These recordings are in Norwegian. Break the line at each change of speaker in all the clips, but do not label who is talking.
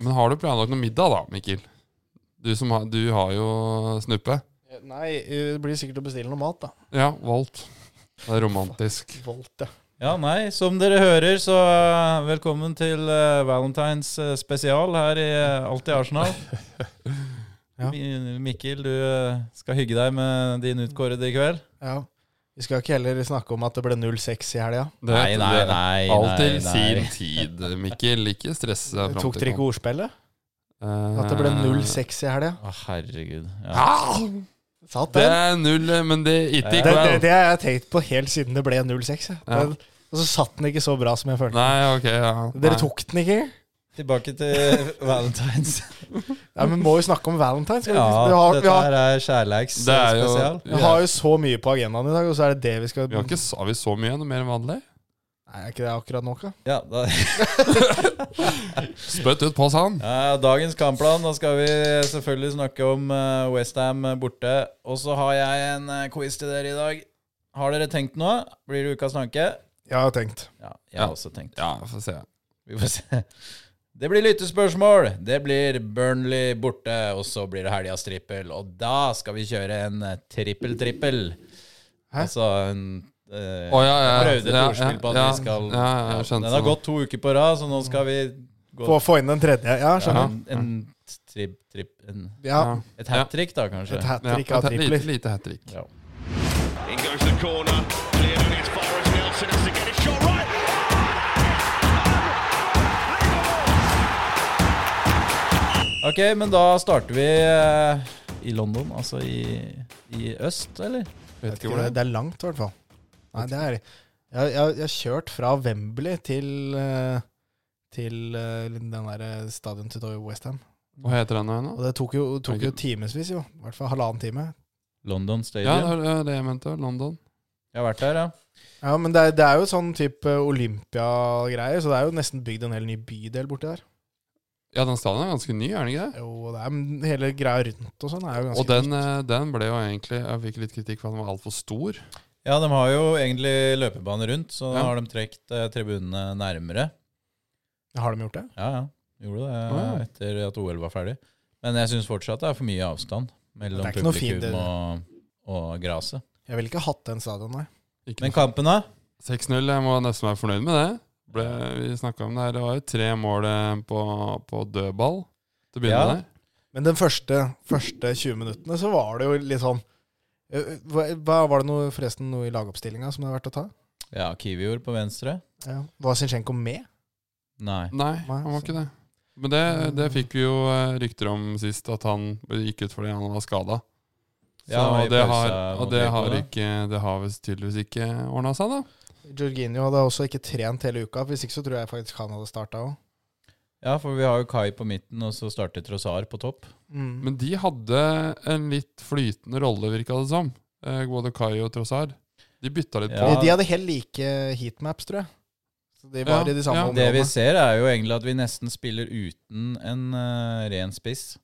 Men har du planlagt noe middag, da, Mikkel? Du, som har, du har jo snuppe.
Eh, Nei, det blir sikkert å bestille noe mat, da.
Ja, valgt. Det er romantisk.
Volt, ja.
Ja, nei, som dere hører, så eh, velkommen til eh, Valentines eh, spesial her i eh, Alt i Arsenal.
Ja.
Mi- Mikkel, du eh, skal hygge deg med din utkårede i kveld.
ja. Vi skal ikke heller snakke om at det ble 06 i helga.
Det, det-
nei.
Alt til sin tid, Mikkel. Ikke stress deg fram Eh,
Tok dere ikke ordspillet? At det ble 06 i helga?
Å, herregud. Ja.
Ah,
Satt
det
den.
er null, men det it
Det,
gikk
det,
well.
det har jeg tenkt på helt siden det ble 06. jeg.
Ja.
Men, og så satt den ikke så bra som jeg følte.
Nei, ok, ja.
Dere
Nei.
tok den ikke?
Tilbake til Valentines.
Ja, men må jo snakke om Valentine. Skal vi,
Ja,
vi, har, vi,
dette
har,
her er kjærleiks
Det er jo
spesial.
vi
vi
har,
har jo så mye på agendaen i dag, og så er det det vi skal
vi har ikke sa vi så mye, noe mer enn vanlig.
Nei, er ikke det akkurat nok, da?
Ja, da,
Spytt ut på oss, han.
Ja, dagens kampplan. Da skal vi selvfølgelig snakke om eh, West Ham borte. Og så har jeg en eh, quiz til dere i dag. Har dere tenkt noe? Blir det ukas tanke?
Jeg har tenkt.
Ja, jeg har
Ja.
også tenkt.
Ja, får se.
Vi får se. Det blir lyttespørsmål. Det blir Burnley borte, og så blir det helgas trippel. Og da skal vi kjøre en eh, trippel-trippel.
Hæ?
Altså en eh,
Å, ja, ja,
Prøvde et
ja,
ordspill på at
ja,
vi skal
ja, ja, jeg skjønte sånn.
Den har
det.
gått to uker på rad, så nå skal vi gå
Få, få inn den tredje. Ja, skjønner.
en, en tripp, tripp, en
Ja,
Ja.
Et hat trick, da, kanskje?
Et hat
Ja,
trick av
et lite,
tripler.
lite hat trick.
ja.
In goes the corner. Cleared and it's far as Nelson has to get it shot right.
Ok, men da starter vi eh, i London, altså i, i øst, eller?
Vet ikke
Ikke
hvor
Det,
det er.
det er langt, i hvert fall. Nei, det er Jeg, jeg, jeg har kjørt fra Wembley til eh, Til eh, den der eh, stadion til Westham.
Hva heter den nå igjen?
Og
da?
det tok jo, tok jo timevis, jo. I hvert fall halvannen time.
London
Ja,
Stadium.
det var- ja, det jeg mente. London.
Jeg har vært der, ja.
Ja, men det, er- det er jo sånn type Olympia-greier, så det er jo nesten bygd en hel ny bydel borti der.
Ja, den stadion er ganske ny, er den ikke det?
Jo, og det er men hele greia rundt og sånn er jo ganske
Og den, eh, den ble jo egentlig Jeg fikk litt kritikk for at den var altfor stor.
Ja, de har jo egentlig løpebane rundt, så
Ja.
har de trukket eh, tribunene nærmere.
Har de gjort det?
Ja, ja. Gjorde det eh,
Å, ja.
etter at OL var ferdig. Men jeg syns fortsatt det er for mye avstand mellom
Det er ikke noe fint,
publikum
det.
og, og graset.
Jeg ville ikke hatt den stadion, nei.
Ikke
Men
noe-
kampen, da?
6-0, jeg må nesten være fornøyd med det. Ble, vi snakka om det her. Det var jo tre mål eh, på, på dødball til å begynne
Ja.
med.
Men den første, første 20 minuttene så var det jo litt sånn eh, hva, hva- Var det noe, forresten noe i lagoppstillinga som det er verdt å ta?
Ja, Kiwior på venstre?
Ja. Var Zinchenko med?
Nei.
Nei, han var ikke det. Men
Mm.
det, det fikk vi jo eh, rykter om sist, at han gikk ut fordi han var skada.
Ja, han var i
og det
pausa
har,
mot
og det har,
Liverpool,
ikke, det har visst tydeligvis ikke ordna seg, da.
Jorginho hadde også ikke trent hele uka. Hvis ikke så tror jeg faktisk han hadde starta òg.
Ja, for vi har jo Kai på midten, og så starter Trossar på topp.
Mm.
Men de hadde en litt flytende rolle, virka det som. Eh, Både Kai og Trossard. De bytta litt
Ja.
på.
De, de hadde helt like heatmaps, tror jeg. Så de var
Ja,
i de samme
ja.
Det vi
områdene.
ser, er jo egentlig at vi nesten spiller uten en eh, ren spiss.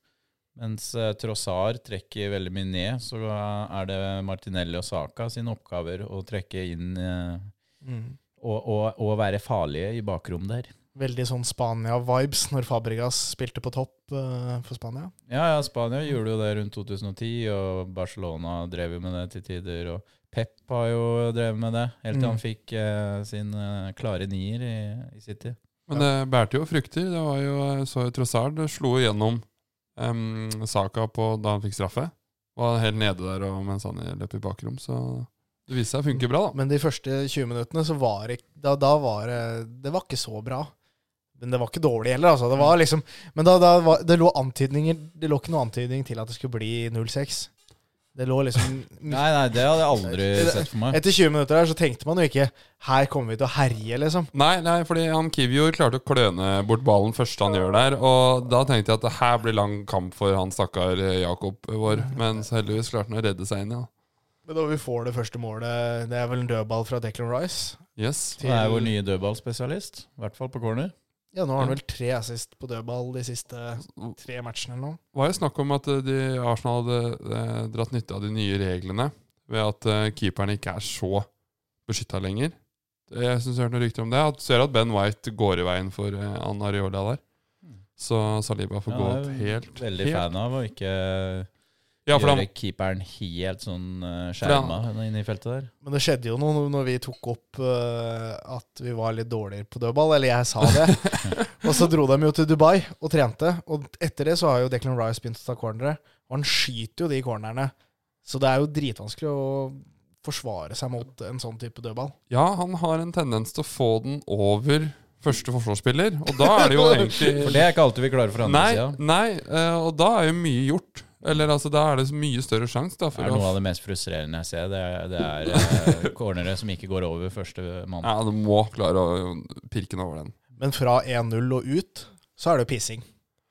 Mens uh, Trossar trekker veldig mye ned, så eh, er det Martinelli og Saka sine oppgaver å trekke inn eh,
Mm.
og, og, og være farlige i bakrom der.
Veldig sånn Spania-vibes når Fabregas spilte på topp eh, for Spania.
Ja, ja, Spania gjorde jo det rundt 2010, og Barcelona drev jo med det til tider. Og Pep har jo drevet med det, helt til
Mm.
han fikk eh, sin eh, klare nier i, i City.
Men det bærte jo frukter. Det var jo, så jo Trossard slo igjennom em, saka på da han fikk straffe. Var helt nede der og mens han løp i bakrom. Så det viste seg å funke bra, da.
Men de første 20 minuttene så var det, da, da var det Det var ikke så bra. Men det var ikke dårlig heller, altså. Det var liksom, men da, da var, det lå antydninger Det lå ikke noen antydning til at det skulle bli 06. Det lå liksom
Nei, nei, det hadde jeg aldri sett for meg.
Etter 20 minutter her så tenkte man jo ikke Her kommer vi til å herje, liksom.
Nei, nei, fordi han Kivior klarte å kløne bort ballen første han gjør der. Og da tenkte jeg at det her blir lang kamp for han stakkar eh, Jakob vår. Men så heldigvis klarte han å redde seg inn, ja.
Men da vi får det første målet Det er vel en dødball fra Declan Rice?
Yes.
Han er vår nye dødballspesialist, i hvert fall på corner.
Ja, nå har han vel tre assist på dødball de siste tre matchene eller noe.
var jo snakk om at eh, de, Arsenal hadde eh, dratt nytte av de nye reglene ved at eh, keeperne ikke er så beskytta lenger. Jeg syns jeg hørte noen rykter om det. At ser at Ben White går i veien for eh, Ann Ariola der. Så Saliba får
Hmm. Ja,
gå
jeg er
ut helt
Veldig
helt-
fan av å ikke
Ja, for
gjøre
han,
keeperen helt sånn eh,
For
skjerma
han-
inne i feltet der.
Men det skjedde jo noe når vi tok opp eh, at vi var litt dårligere på dødball, eller jeg sa det. og så dro de jo til Dubai og trente, og etter det så har jo Declan Rice begynt å ta cornere. Og han skyter jo de cornerne, så det er jo dritvanskelig å forsvare seg mot en sånn type dødball.
ja, han har en tendens til å få den over første forsvarsspiller, og da er det jo egentlig
For det er ikke alltid vi klarer for andre
Nei,
sida.
nei eh, og da er jo mye gjort. Eller altså, da er det så mye større sjanse da,
Det
for
er noe
å
av det mest frustrerende jeg ser. Det er, det er eh, cornere som ikke går over første mann.
Ja, du må klare å pirke den over den.
Men fra 1-0 og ut, så er det jo pissing.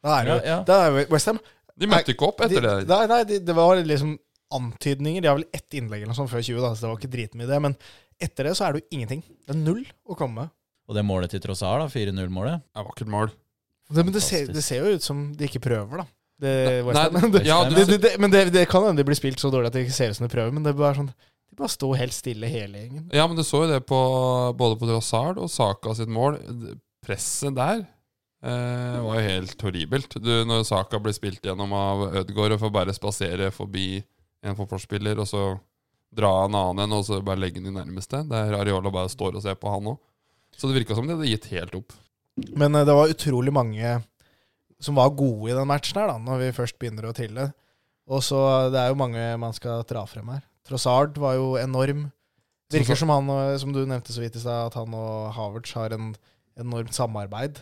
Da er det jo
Ja, ja.
Da er jo Westham
De møtte ikke opp etter
de,
det.
Nei, nei de, det var liksom antydninger. De har vel ett innlegg eller noe sånt før 20, da, så det var ikke dritmye det. Men etter det så er det jo ingenting. Det er null å komme med.
Og det målet til Trossar, da, 4-0-målet
Det er vakkert mål.
Det, men det ser,
Fantastisk.
det ser jo ut som de ikke prøver, da. Det,
Nei,
Eh, West Ham.
nei, altså-
det,
ja,
det,
du-
det, det, men det, det kan hende de blir spilt så dårlig at det ikke ser ut som de prøver, men det er bare sånn De bare står helt stille hele gjengen.
Ja, men du så jo det på både på Trossard og Saka sitt mål. Det- Presset der eh, var jo helt horribelt. Du, når Saka blir spilt gjennom av Ødegaard og får bare spasere forbi en forsvarsspiller, og så dra en annen en, og så bare legge den i nærmeste, der Areola bare står og ser på han òg. Så det virka som de hadde gitt helt opp.
Men eh, det var utrolig mange som var gode i den matchen her, da, når vi først begynner å trille. Og så eh, det er jo mange man skal dra frem her. Trossard var jo enorm. Virker som han, eh, som du nevnte så vidt i stad, at han og Havertz har en enormt samarbeid.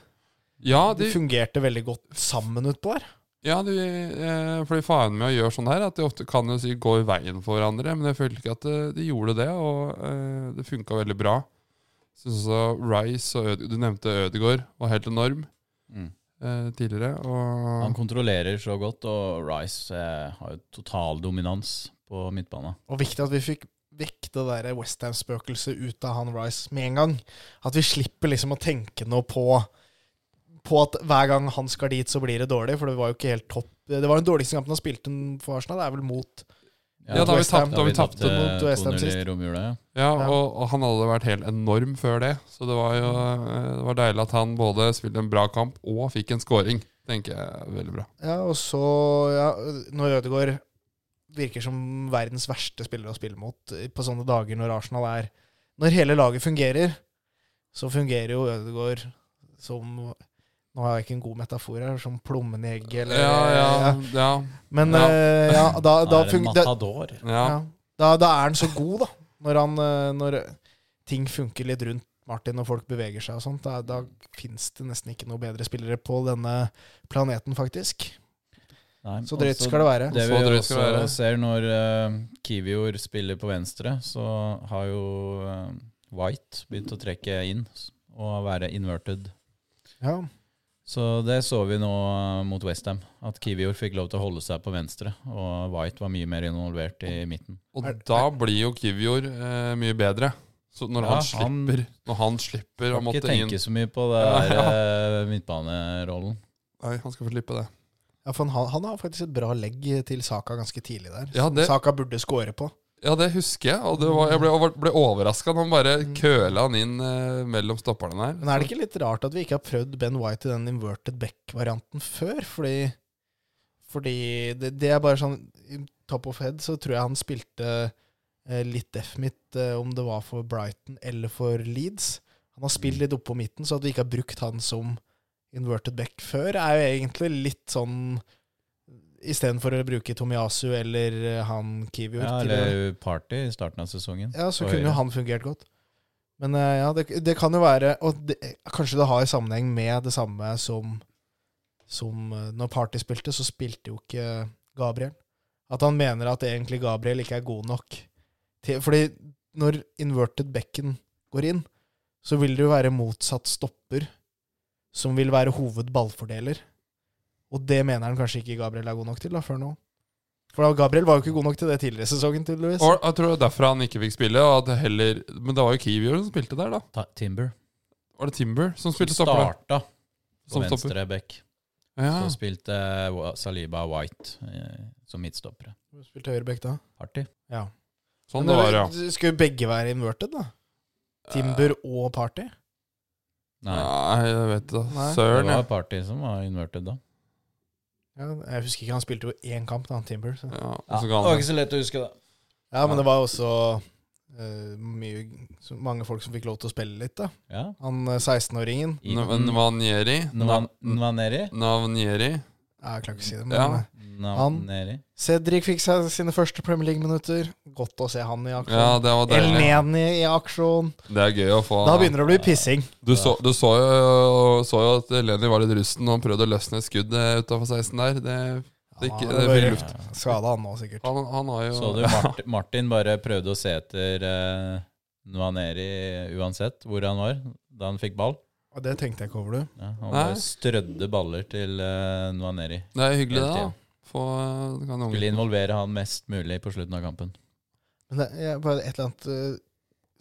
Ja,
De
de
fungerte veldig godt sammen utpå her.
Ja, de, eh, fordi faren med å gjøre sånn her er at de ofte kan jo si gå i veien for hverandre, men jeg følte ikke at eh, de gjorde det, og eh, det funka veldig bra. Synes også Rice og Øde, Du nevnte Ødegaard var helt enorm
Mm.
eh, tidligere.
Han
Og,
kontrollerer så godt, og Rice eh, har jo total dominans på midtbanen.
Og viktig at vi fikk vekk det der Westham-spøkelset ut av han Rice med en gang. At vi slipper liksom å tenke noe på På at hver gang han skal dit, så blir det dårlig. For det var jo ikke helt topp. Det var den dårligste kampen han spilte for Arsenal. Det er vel mot
ja, da har vi
West Ham.
tapt, da har vi tapt.
tapte mot West Ham
2-0 eh, i
sist.
romjula. ja.
Ja,
Ja.
og, og han hadde vært helt enorm før det, så det var jo eh, det var deilig at han både spilte en bra kamp og fikk en scoring. Tenker jeg er veldig bra.
Ja, og så ja, Når Ødegaard virker som verdens verste spiller å spille mot eh, på sånne dager når Arsenal er Når hele laget fungerer, så fungerer jo Ødegaard som Nå har jeg ikke en god metafor her, som plommen i egget, eller
Ja, ja, ja.
Men
Ja.
eh, ja, da, da,
Han er en
fun- da,
matador.
ja.
ja, da, da er han så god, da. Når, han, eh, når ting funker litt rundt Martin og folk beveger seg og sånt. Da, da fins det nesten ikke noe bedre spillere på denne planeten, faktisk.
Nei,
Så drøyt
også-
skal det være.
Det vi
Så drøyt skal
også
det være.
ser når uh, Kivior spiller på venstre, så har jo eh, White begynt å trekke inn s- og være inverted.
Ja.
Så det så vi nå eh, mot Westham, at Kivior fikk lov til å holde seg på venstre, og White var mye mer involvert i midten.
Og
Er-
da blir jo Kivior eh, mye bedre. Så når
Ja,
han
han-
slipper Når han slipper å
Kan
måtte
ikke
inn
tenke så mye på det der eh, midtbanerollen.
Nei, han skal få slippe det.
Ja, for han, han har faktisk et bra legg til Saka ganske tidlig der.
Ja,
som
det-
Saka burde score på.
Ja, det husker jeg. Og det var, jeg ble, over- ble overraska da han bare køla han inn eh, mellom stopperne der.
Men er det ikke litt rart at vi ikke har prøvd Ben White i den inverted back-varianten før? Fordi, fordi det, det er bare sånn i Top of head så tror jeg han spilte eh, litt deaf mitt, eh, om det var for Brighton eller for Leeds. Han har spilt litt oppå midten, så at vi ikke har brukt han som inverted back før, er jo egentlig litt sånn Istedenfor å bruke Tomiyasu eller eh, han Kivior.
Ja,
til å-
eller Party i starten av sesongen.
ja, så
på
kunne
høyre.
jo han fungert godt. Men eh, ja, det, det kan jo være Og det, kanskje det har sammenheng med det samme som, som eh, når Party spilte, så spilte jo ikke Gabriel. At han mener at egentlig Gabriel ikke er god nok. Til, fordi når inverted bekken går inn, så vil det jo være motsatt stopper som vil være hovedballfordeler. Og det mener han kanskje ikke Gabriel er god nok til da, før nå. For da, Gabriel var jo ikke god nok til det tidligere i sesongen, tydeligvis.
Og jeg tror det er derfor han ikke fikk spille. Og at det heller, men det var jo Kivior som spilte der, da.
Ta Timber.
Var det Timber som
Som
spilte stopper? der?
starta på
Som stopper.
venstre back.
Ja.
Så spilte Wa- Saliba og White eh, som midtstoppere.
Spilte høyrebekk da.
Party.
Ja.
Sånn det var, ja.
Skulle begge være inverted, da? Timber og Party?
Nei.
Nei, jeg vet da.
Nei.
Det
Søren, ja.
var Party som var inverted da.
Ja, jeg husker ikke, han spilte jo én kamp, da, han Timber. Så.
ja.
Ja,
så
det
ga
var
han-
ikke så lett å huske det.
Ja, men det var også eh, mye, så mange folk som fikk lov til å spille litt, da.
Ja.
Han eh, 16-åringen
N- Nvanieri.
Nvan- Nvaneri?
Navnieri.
ja, Jeg klarer ikke å si det, men eh,
Ja.
Nvaneri?
Cedric fikk seg sine første Premier League-minutter. Godt å se han i aksjon.
Ja, det var
El
deilig.
Neni i aksjon.
Det er gøy å få
Da begynner det å bli pissing.
Du så, du så, jo, så jo at Lenny var litt rusten og han prøvde å løsne et skudd utafor 16 der. Det, det, ikke, det blir luft.
Skada han nå, sikkert.
Han, han har jo
Så du Martin, Martin bare prøvde å se etter eh, Nvaneri uansett hvor han var da han fikk ball?
Og det tenkte jeg ikke over, du.
Ja, han
Nei.
bare strødde baller til eh, Nvaneri.
Det er hyggelig, det.
Hele
da.
tiden.
Få, det kan
Skulle
unge.
involvere han mest mulig på slutten av kampen.
Men det er bare et eller annet eh,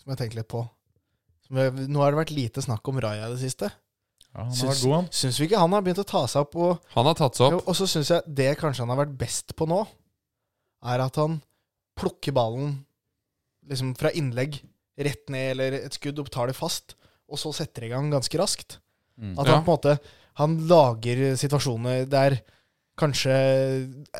som jeg tenkte litt på. Som jeg, nå har det vært lite snakk om Raja i det siste.
Ja, han
Syns-
var god, han.
Syns vi ikke han har begynt å ta seg opp? Og,
Han har tatt seg opp.
og så syns jeg det kanskje han har vært best på nå, er at han plukker ballen liksom fra innlegg rett ned, eller et skudd, og tar det fast, og så setter i gang ganske raskt.
Mm.
At
Ja.
han på en måte Han lager situasjoner der kanskje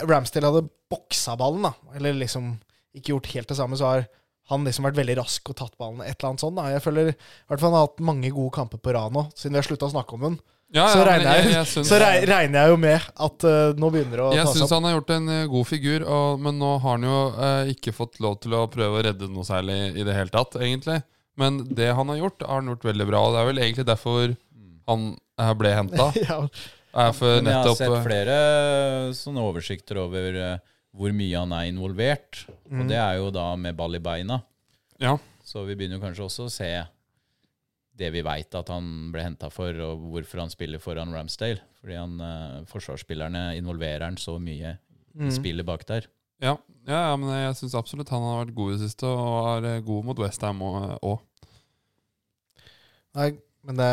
Ramsdale hadde boksa ballen, da. Eller liksom ikke gjort helt det samme, så har han liksom vært veldig rask og tatt ballen. Et eller annet sånt. da. Jeg føler i hvert fall han har hatt mange gode kamper på rad nå, siden vi har slutta å snakke om den.
Ja,
så
ja, men
regner jeg-
syns-
Så reg- regner jeg jo med at eh, nå begynner det å
Jeg
ta seg
syns
opp.
han har gjort en eh, god figur, og, men nå har han jo eh, ikke fått lov til å prøve å redde noe særlig i det hele tatt, egentlig. Men det han har gjort, har han gjort veldig bra, og det er vel egentlig derfor han eh, ble henta.
ja,
Er for
Mm. Men jeg har
nettopp eh,
sett flere eh, sånne oversikter over eh, hvor mye han er involvert. Og det er jo da med ball i beina.
Mm. Ja.
Så vi begynner jo kanskje også å se det vi veit at han ble henta for, og hvorfor han spiller foran Ramsdale. Fordi han, eh, forsvarsspillerne involverer han så mye
Mm.
Mm.
i spillet bak der.
Ja, ja, ja men jeg syns absolutt han har vært god i det siste, og er eh, god mot Westham òg.
Nei, men det,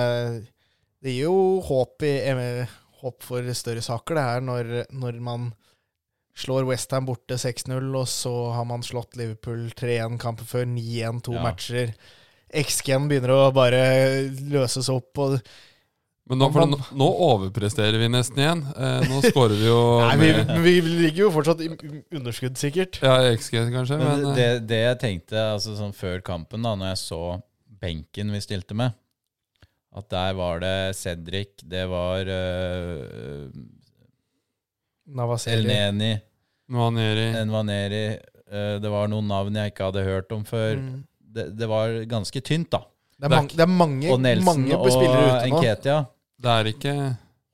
det gir jo håp, i, eh, håp for større saker, det her, når, når man slår Westham borte 6-0, og så har man slått Liverpool 3-1 kampen før, 9-1 to
Ja.
matcher. XG-en begynner å bare løses opp. Og,
Men nå, for nå, nå overpresterer vi nesten igjen. Eh, nå scorer vi jo
nei, vi,
med
vi ligger jo fortsatt i underskudd, sikkert.
ja, XG, kanskje. Men,
Men
eh,
det, det jeg tenkte altså, sånn før kampen, da når jeg så benken vi stilte med At der var det Cedric, det var eh, El
Navaseli.
Neni,
Nwaneri.
Envaneri eh, Det var noen navn jeg ikke hadde hørt om før.
Mm.
Det, det var ganske tynt, da.
Det er, mange, det er mange,
Og Nelson
mange
og
spillere ute nå.
Enketia.
Det er ikke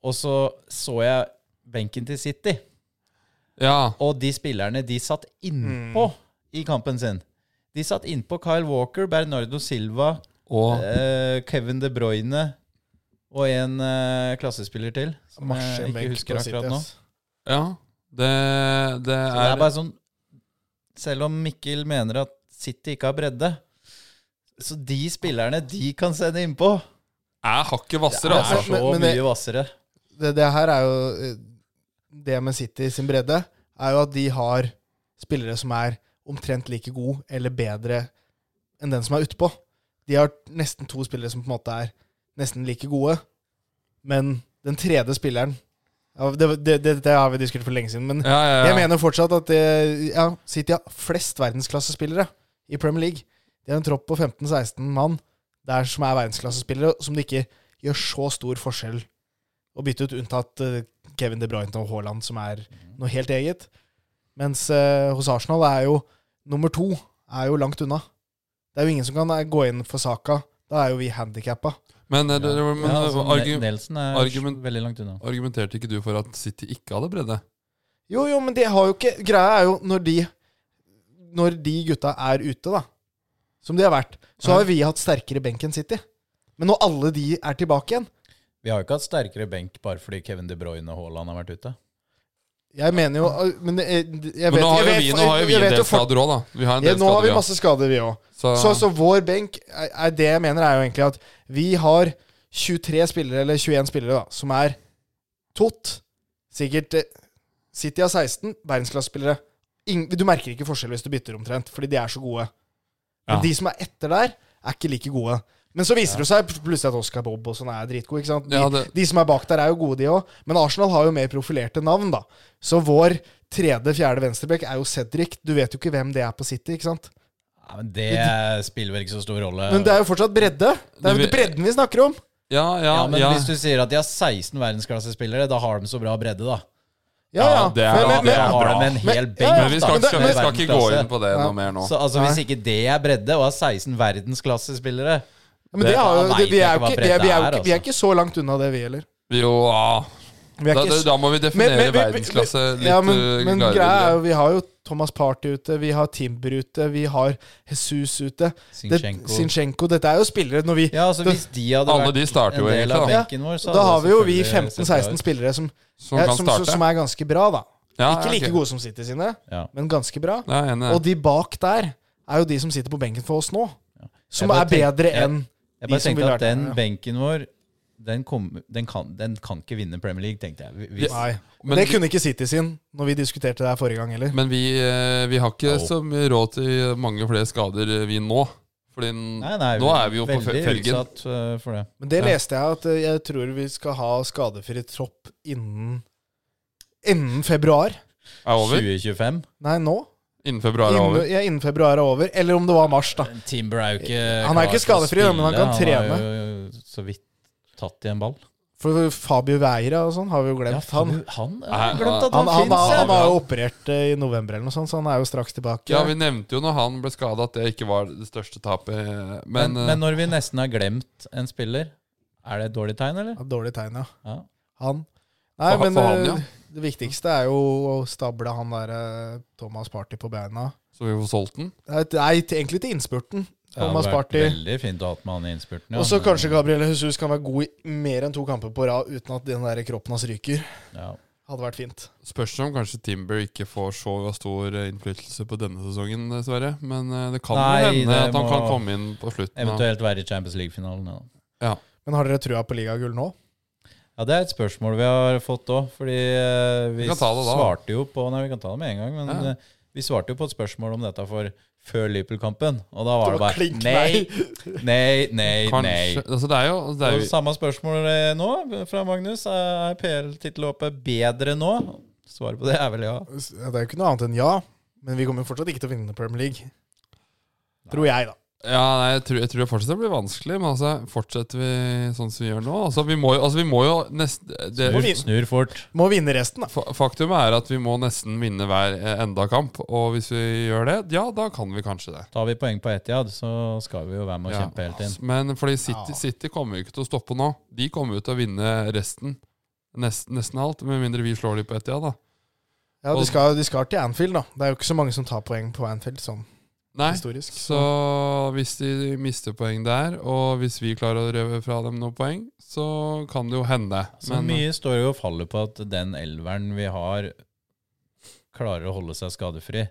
Og så så jeg benken til City,
Ja.
og de spillerne de satt innpå
Mm.
i kampen sin. De satt innpå Kyle Walker, Bernardo Silva,
Og
Eh, Kevin De Bruyne og en eh, klassespiller til. Som
Marsje
jeg ikke
benk
husker
på City,
akkurat nå.
ass.
Ja. Det, det
Så det
er
er bare sånn Selv om Mikkel mener at City ikke har bredde, så de spillerne de kan sende innpå,
er hakket
det
hvassere,
er
altså.
så
men- men det-
mye hvassere.
det, det her er jo eh, Det med City sin bredde er jo at de har spillere som er omtrent like god eller bedre enn den som er utpå. De har nesten to spillere som på en måte er nesten like gode, men den tredje spilleren ja, det, det, det, det har vi diskutert for lenge siden, men
Ja, ja,
jeg
ja.
mener fortsatt at eh, ja, City har flest verdensklassespillere i Premier League. De har en tropp på 15-16 mann der som er verdensklassespillere, som det ikke gjør så stor forskjell å bytte ut, unntatt eh, Kevin De Bruyne og Haaland, som er noe helt eget. Mens eh, hos Arsenal er jo nummer to er jo langt unna. Det er jo ingen som kan eh, gå inn for saka. Da er jo vi handikappa.
Men, eh, det-
Ja,
men
altså,
eh, argu-
Ne- Nelson er
argument-
veldig langt unna.
argumenterte ikke du for at City ikke hadde bredde?
Jo, jo, men de har jo ikke Greia er jo når de Når de gutta er ute, da, som de har vært, så har
Ja.
vi hatt sterkere benk enn City. Men når alle de er tilbake igjen
Vi har jo ikke hatt sterkere benk bare fordi Kevin De Bruyne og Haaland har vært ute.
Jeg mener jo Men eh, jeg, jeg vet
Men nå har jo
jeg
vi,
vet-
nå har jo vi
jeg
en
vet
del
jo for-
skader òg, da. Vi har en
Ja,
del
nå har
skader,
vi
ja.
masse skader, vi òg. Så,
Så
så vår benk er, er Det jeg mener, er jo egentlig at vi har 23 spillere, eller 21 spillere, da, som er tot. Sikkert eh, City har 16 verdensklassespillere. Ing- Du merker ikke forskjell hvis du bytter omtrent, fordi de er så gode. Men
Ja.
de som er etter der, er ikke like gode. Men så viser det seg plutselig at Oscar Bob og sånn er dritgod. ikke sant? De,
Ja, det-
de som er bak der, er jo gode, de òg. Men Arsenal har jo mer profilerte navn, da. Så vår tredje, fjerde venstreback er jo Cedric. Du vet jo ikke hvem det er på City, ikke sant?
Ja, men det spiller vel ikke så stor rolle.
Men det er jo fortsatt bredde. Det er
Det vi-
jo bredden vi snakker om.
Ja, ja,
ja, men
ja.
hvis du sier at de har 16 verdensklassespillere, da har de så bra bredde, da.
Ja, ja.
det er-
men,
ja,
men,
det
da
er-
men,
har
bra.
de en hel
Men-
benk,
ja, ja,
Men vi skal,
men det-
ikke, vi skal ikke gå inn på det
Ja.
noe mer nå.
Så altså, Hvis ikke det er bredde, og er 16 verdensklassespillere
men det har jo,
Da
det,
vet
vi, er
jeg
jo
ikke hva
ikke, vi, er, vi, er jo ikke,
bredde altså. er,
altså.
vi er ikke så langt unna det, vi heller.
Jo, ah.
Vi er
da,
ikke
da,
så-
da må vi definere
Men- men- men-
verdensklasse litt
ja, men,
eh,
men
klarere.
greia er jo, vi har jo Thomas Party ute, vi har Timber ute, vi har Jesus ute. Det-
Sinchenko.
Sinchenko. Dette er jo spillere når vi
Ja, altså Hvis de hadde
Alle
vært
de starter jo
en del
egentlig,
av
da.
benken vår,
Da
så hadde
har
det
vi jo vi
selvfølgelig sett bra
15-16
ut.
spillere som,
som
ja,
kan
som, som,
starte.
som er ganske bra, da.
ja,
Ikke like gode som City sine,
Ja.
men ganske bra.
Ja, jeg er enig.
Og de bak der er jo de som sitter på benken for oss nå. Som
Jeg
er
bare tenk-
bedre
jeg-
enn
Jeg
de
bare
som
tenkte
ville vært
at den
der, ja.
benken vår den, kom, den, kan, den kan ikke vinne Premier League, tenkte jeg. Vi- Hvis,
Nei.
Men
det
vi-
kunne ikke City sin når vi diskuterte det her forrige gang heller.
Men vi, eh, vi har ikke
Jo.
så mye råd til mange flere skader, eh, vi nå. Fordi n-
nei, nei,
nå er vi jo på fe-
veldig
felgen.
utsatt øh, for det.
Men det
Ja.
leste jeg at eh, jeg tror vi skal ha skadefri tropp innen Innen februar.
Er over?
2025.
Nei, nå.
Innen februar er
Innen,
over.
ja, innen februar er over. Eller om det var mars, da.
Timber er jo eh, ikke
Han er jo ikke
klar til å
skadefri, men han
spille.
kan
Han har jo så vidt tatt i en ball.
For Fabio Veira og sånn har vi jo
Ja,
glemt.
han,
han,
han, jeg har glemt at
han,
han,
han, han,
finnes,
han
ja.
har jo operert eh, i november, eller noe sånt, så han er jo straks tilbake.
Ja, vi nevnte jo når han ble skada at det ikke var det største tapet. eh, Men,
Men, men
eh,
når vi nesten har glemt en spiller, er det et dårlig tegn, eller?
Ja, Dårlig tegn, ja.
Ja.
Han. Nei,
For-
men
for han,
eh,
ja.
det viktigste er jo å stable han der eh, Thomas Party på beina.
så vi får solgt den.
Nei, til- nei, til- egentlig til innspurten.
Det hadde
Thomas
vært
Party.
Veldig fint å ha hatt med han i innspurten. ja,
Og så
men-
kanskje Gabriel Jesus kan være god i mer enn to kamper på rad uten at den der kroppen hans ryker.
ja.
Hadde vært fint.
Spørs om kanskje Timber ikke får så stor eh, innflytelse på denne sesongen, dessverre. Men eh, det kan jo
Nei,
hende
det
at han
må-
kan komme inn på slutten. av-
Eventuelt være i Champions League-finalen. Ja.
Men har dere trua på ligagull nå?
ja, Det er et spørsmål vi har fått òg, fordi eh, vi,
Vi kan ta det da.
svarte jo på Nei, vi kan ta det med en gang, men
Ja.
eh, vi svarte jo på et spørsmål om dette for før Liverpool-kampen, og da var det
var
bare
klink
nei, nei, nei,
Kanskje.
nei.
Altså, det er jo, det er
Og
jo
samme spørsmål eh, nå fra Magnus. Er PL-tittelhåpet bedre nå? Svaret på det er vel ja.
S- Det er jo ikke noe annet enn ja, men vi kommer jo fortsatt ikke til å vinne Premier League. Tror jeg, da.
Ja, nei, jeg tror, jeg tror det fortsatt blir vanskelig, men altså, fortsetter vi sånn som vi gjør nå Altså, vi må jo, altså, vi må jo nest, det,
Må vi-
Snur fort.
Må vinne resten, da.
fa- Faktum er at vi må nesten vinne hver eh, enda kamp, og hvis vi gjør det, ja, da kan vi kanskje det.
Tar vi poeng på Etiad, så skal vi jo være med og
Ja.
kjempe helt inn.
Men fordi
Ja.
City, City kommer jo ikke til å stoppe nå. De kommer jo til å vinne resten. Nesten, nesten alt, med mindre vi slår de på ett, ja da.
Ja, de
Og-
skal, de skal til Anfield, da. Det er jo ikke så mange som tar poeng på Anfield, sånn
Nei,
historisk.
så hvis de mister poeng der, og hvis vi klarer å røve fra dem noen poeng, så kan det jo hende.
Så
eh,
mye står jo og faller på at den elveren vi har, klarer å holde seg skadefri.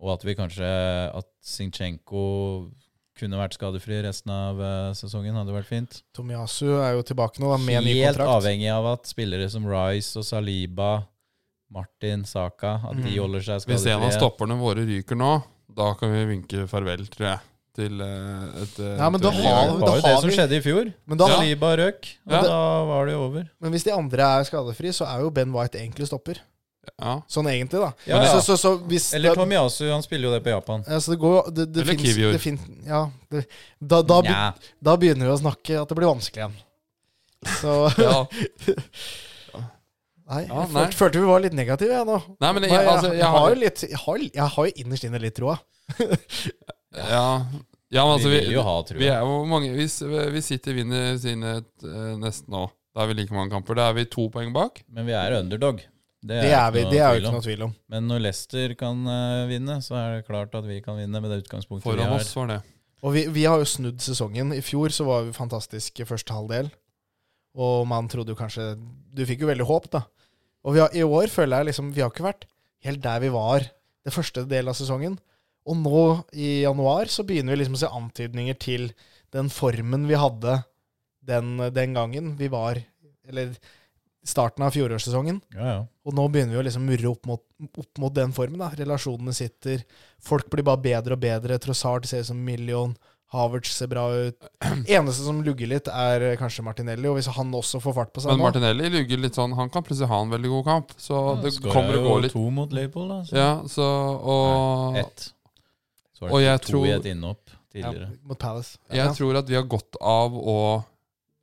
Og at vi kanskje At Sinchenko kunne vært skadefri resten av eh, sesongen, hadde vært fint.
Tomiyasu er jo tilbake nå, da, med ny
Helt
kontrakt.
avhengig av at spillere som Rice og Saliba, Martin, Saka, at de
Mm.
holder seg
Hvis en av
skadefrie.
stopperne våre ryker nå, da kan vi vinke farvel, tror jeg. Til eh, et eh,
Ja, men da
til-
har
Det
vi-
var jo det
har
som
vi-
skjedde i fjor.
Men, da,
Saliba røk, og
Ja.
da var det jo over.
men hvis de andre er skadefri, så er jo Ben White egentlig stopper.
ja.
Sånn egentlig, da.
Ja, ja.
Så, så, så hvis
Eller
da-
Tomiyasu, han spiller jo det på Japan.
Ja, så det går jo det, det
Eller
finnes,
Kiwior.
Det fin, ja, det, da, da, be-
Nja.
da begynner vi å snakke at det blir vanskelig igjen. Så
ja.
Nei,
Ja,
jeg
nei.
følte, følte vi var litt negative, jeg nå.
Nei, men jeg,
Nei, jeg,
altså,
jeg,
jeg
har
har
jo litt Jeg har, jeg har jo innerst inne litt troa.
Ja, ja men altså
vi
vi,
vil jo ha, tror
vi
jeg.
er jo mange Hvis vi sitter vinner sine eh, nesten nå, da er vi like mange kamper. Da er vi to poeng bak.
Men vi er underdog. Det
Det er, vi,
ikke noe
det er jo
tvil
ikke
om.
noe tvil om.
Men når Leicester kan eh, vinne, så er det klart at vi kan vinne med det utgangspunktet vi
Foran
har.
oss var det.
Og vi, vi har jo snudd sesongen. I fjor så var vi fantastisk i første halvdel. Og man trodde jo kanskje Du fikk jo veldig håp, da. Og vi har, i år føler jeg liksom Vi har ikke vært helt der vi var det første delen av sesongen. Og nå i januar så begynner vi liksom å se antydninger til den formen vi hadde den, den gangen vi var Eller starten av fjorårssesongen.
Ja, ja.
Og nå begynner vi å liksom murre opp mot, opp mot den formen. da. Relasjonene sitter. Folk blir bare bedre og bedre. Trossard ser ut som million. Havertz ser bra ut. Eneste som lugger litt, er eh, kanskje Martinelli. Og hvis han også får fart på seg
Men
nå
Martinelli lugger litt sånn Han kan plutselig ha en veldig god kamp. Så det
Mm. Skårer
kommer og
jo
går litt.
to mot Liverpool, da. Så.
Ja, så og
Ett. Så var det
og jeg
to
tror-
i et innhopp
ja,
tidligere.
mot Palace.
Jeg tror at vi har godt av å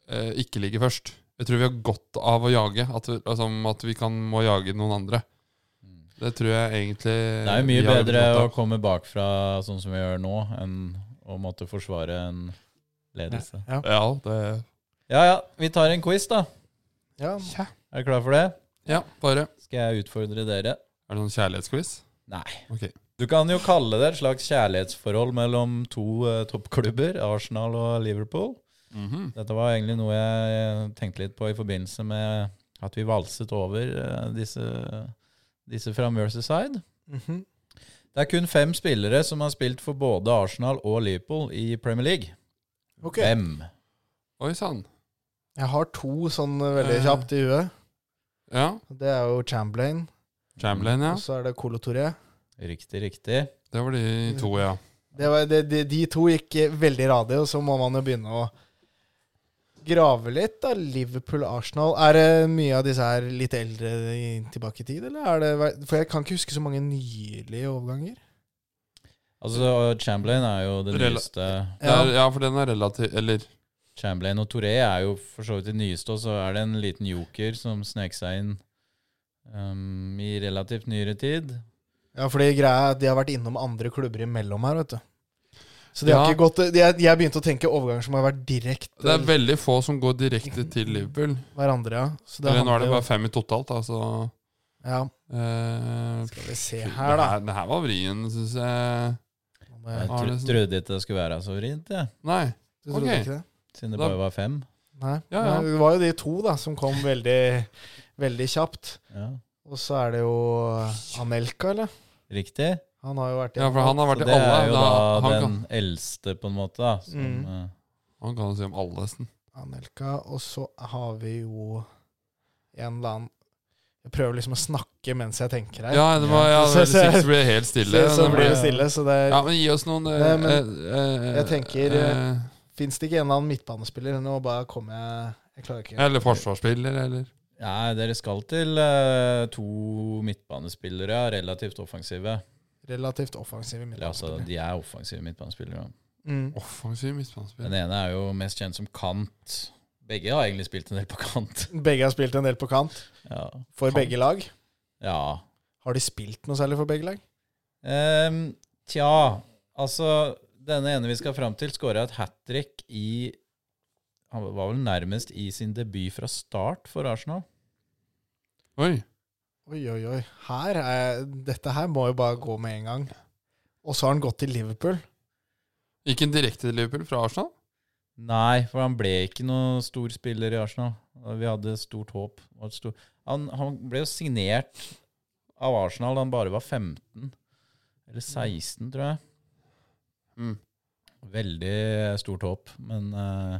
eh, ikke ligge først. Jeg tror vi har godt av å jage. At vi, altså, at vi kan må jage noen andre.
Mm.
Det tror jeg egentlig
Det er jo mye
vi har
bedre å
godt av.
komme bakfra sånn som vi gjør nå, enn å måtte forsvare en ledelse.
Ja, det
Ja ja, vi tar en quiz, da.
Ja.
ja.
Er du klar for det?
bare
Skal jeg utfordre dere?
Er det sånn kjærlighetsquiz?
Nei.
Ok.
Du kan jo kalle det et slags kjærlighetsforhold mellom to eh, toppklubber, Arsenal og Liverpool. Dette var egentlig noe jeg eh, tenkte litt på i forbindelse med at vi valset over eh, disse, disse fra Merseyside.
Mhm.
Det er kun fem spillere som har spilt for både Arsenal og Liverpool i Premier League.
Ok.
Fem.
Oi sann.
Jeg har to sånn eh, veldig
Eh.
kjapt i huet.
Ja.
Det er jo Chamberlain,
Chamberlain, ja.
og så er det Colo Touré.
Riktig, riktig.
Det var de to, ja.
Det var, det, de, de to gikk eh, veldig radig, og så må man jo begynne å grave litt. da, Liverpool-Arsenal. Er det mye av disse her litt eldre i, tilbake i tid, eller? Er det, for jeg kan ikke huske så mange nylige overganger.
Altså, Chamberlain er jo det
Rela-
nyeste.
Det er, ja, for den er relativ Eller
Chamberlain og Touré er jo for så vidt det nyeste, og så er det en liten joker som snek seg inn um, i relativt nyere tid.
Ja, fordi greia er at de har vært innom andre klubber imellom her, vet du. Så de har
Ja.
ikke gått Jeg, jeg begynte å tenke overganger som har vært direkte
Det er veldig få som går direkte til Liverpool.
hverandre, ja. Så
Eller nå er
handler
det
jo-
bare fem i totalt, da, så
Ja,
eh,
skal vi se
det
her, da.
her- Det her var vrien, syns jeg.
Jeg
Om jeg-
Har
tro
det sånn-
trodde ikke det skulle være så vrient, jeg.
Nei.
Du trodde
Ok.
ikke det?
Siden det
Da-
bare var fem.
Nei.
Ja, ja.
Nei, Det var jo de to da, som kom veldig, veldig kjapt.
Ja.
Og så er det jo eh, Anelka, eller?
Riktig.
Han har jo vært
Ja, for han har
Så
vært i
det
alle.
er jo da,
da- han,
den
kan,
eldste, på en måte. da, som,
Mm.
eh,
han kan jo si om alle, nesten.
Anelka, og så har vi jo en eller annen Jeg prøver liksom å snakke mens jeg tenker her.
Ja, det var, ja,
Så- så-
Six blir helt stille.
så, så
Den
blir
ble-
det stille, så det
Ja, men gi oss noen eh,
Nei, men
eh, eh,
jeg tenker,
eh,
fins det ikke en eller annen midtbanespiller. Nå bare kommer jeg Jeg klarer ikke.
Eller forsvarsspiller, eller
Nei, dere skal til eh, to midtbanespillere, relativt offensive.
Relativt offensiv
Eller altså,
midtbanespiller.
de er offensive midtbanespillere.
Mm.
offensiv midtbanespiller.
Den ene er jo mest kjent som kant. Begge har egentlig spilt en del på kant.
Begge har spilt en del på kant.
Ja.
For
Kant.
begge lag.
ja.
Har de spilt noe særlig for begge lag?
Ehm, tja, altså Denne ene vi skal fram til, skåra et hat trick i Han var vel nærmest i sin debut fra start for Arsenal.
Oi.
Oi, oi, oi. Her er, dette her må jo bare gå med en gang. Og så har han gått til Liverpool.
Gikk han direkte til Liverpool fra Arsenal?
Nei, for han ble ikke noen stor spiller i Arsenal. Og Vi hadde stort håp. og et stor- Han, han ble jo signert av Arsenal da han bare var 15. Eller 16, tror jeg.
Mm.
Veldig stort håp, men eh,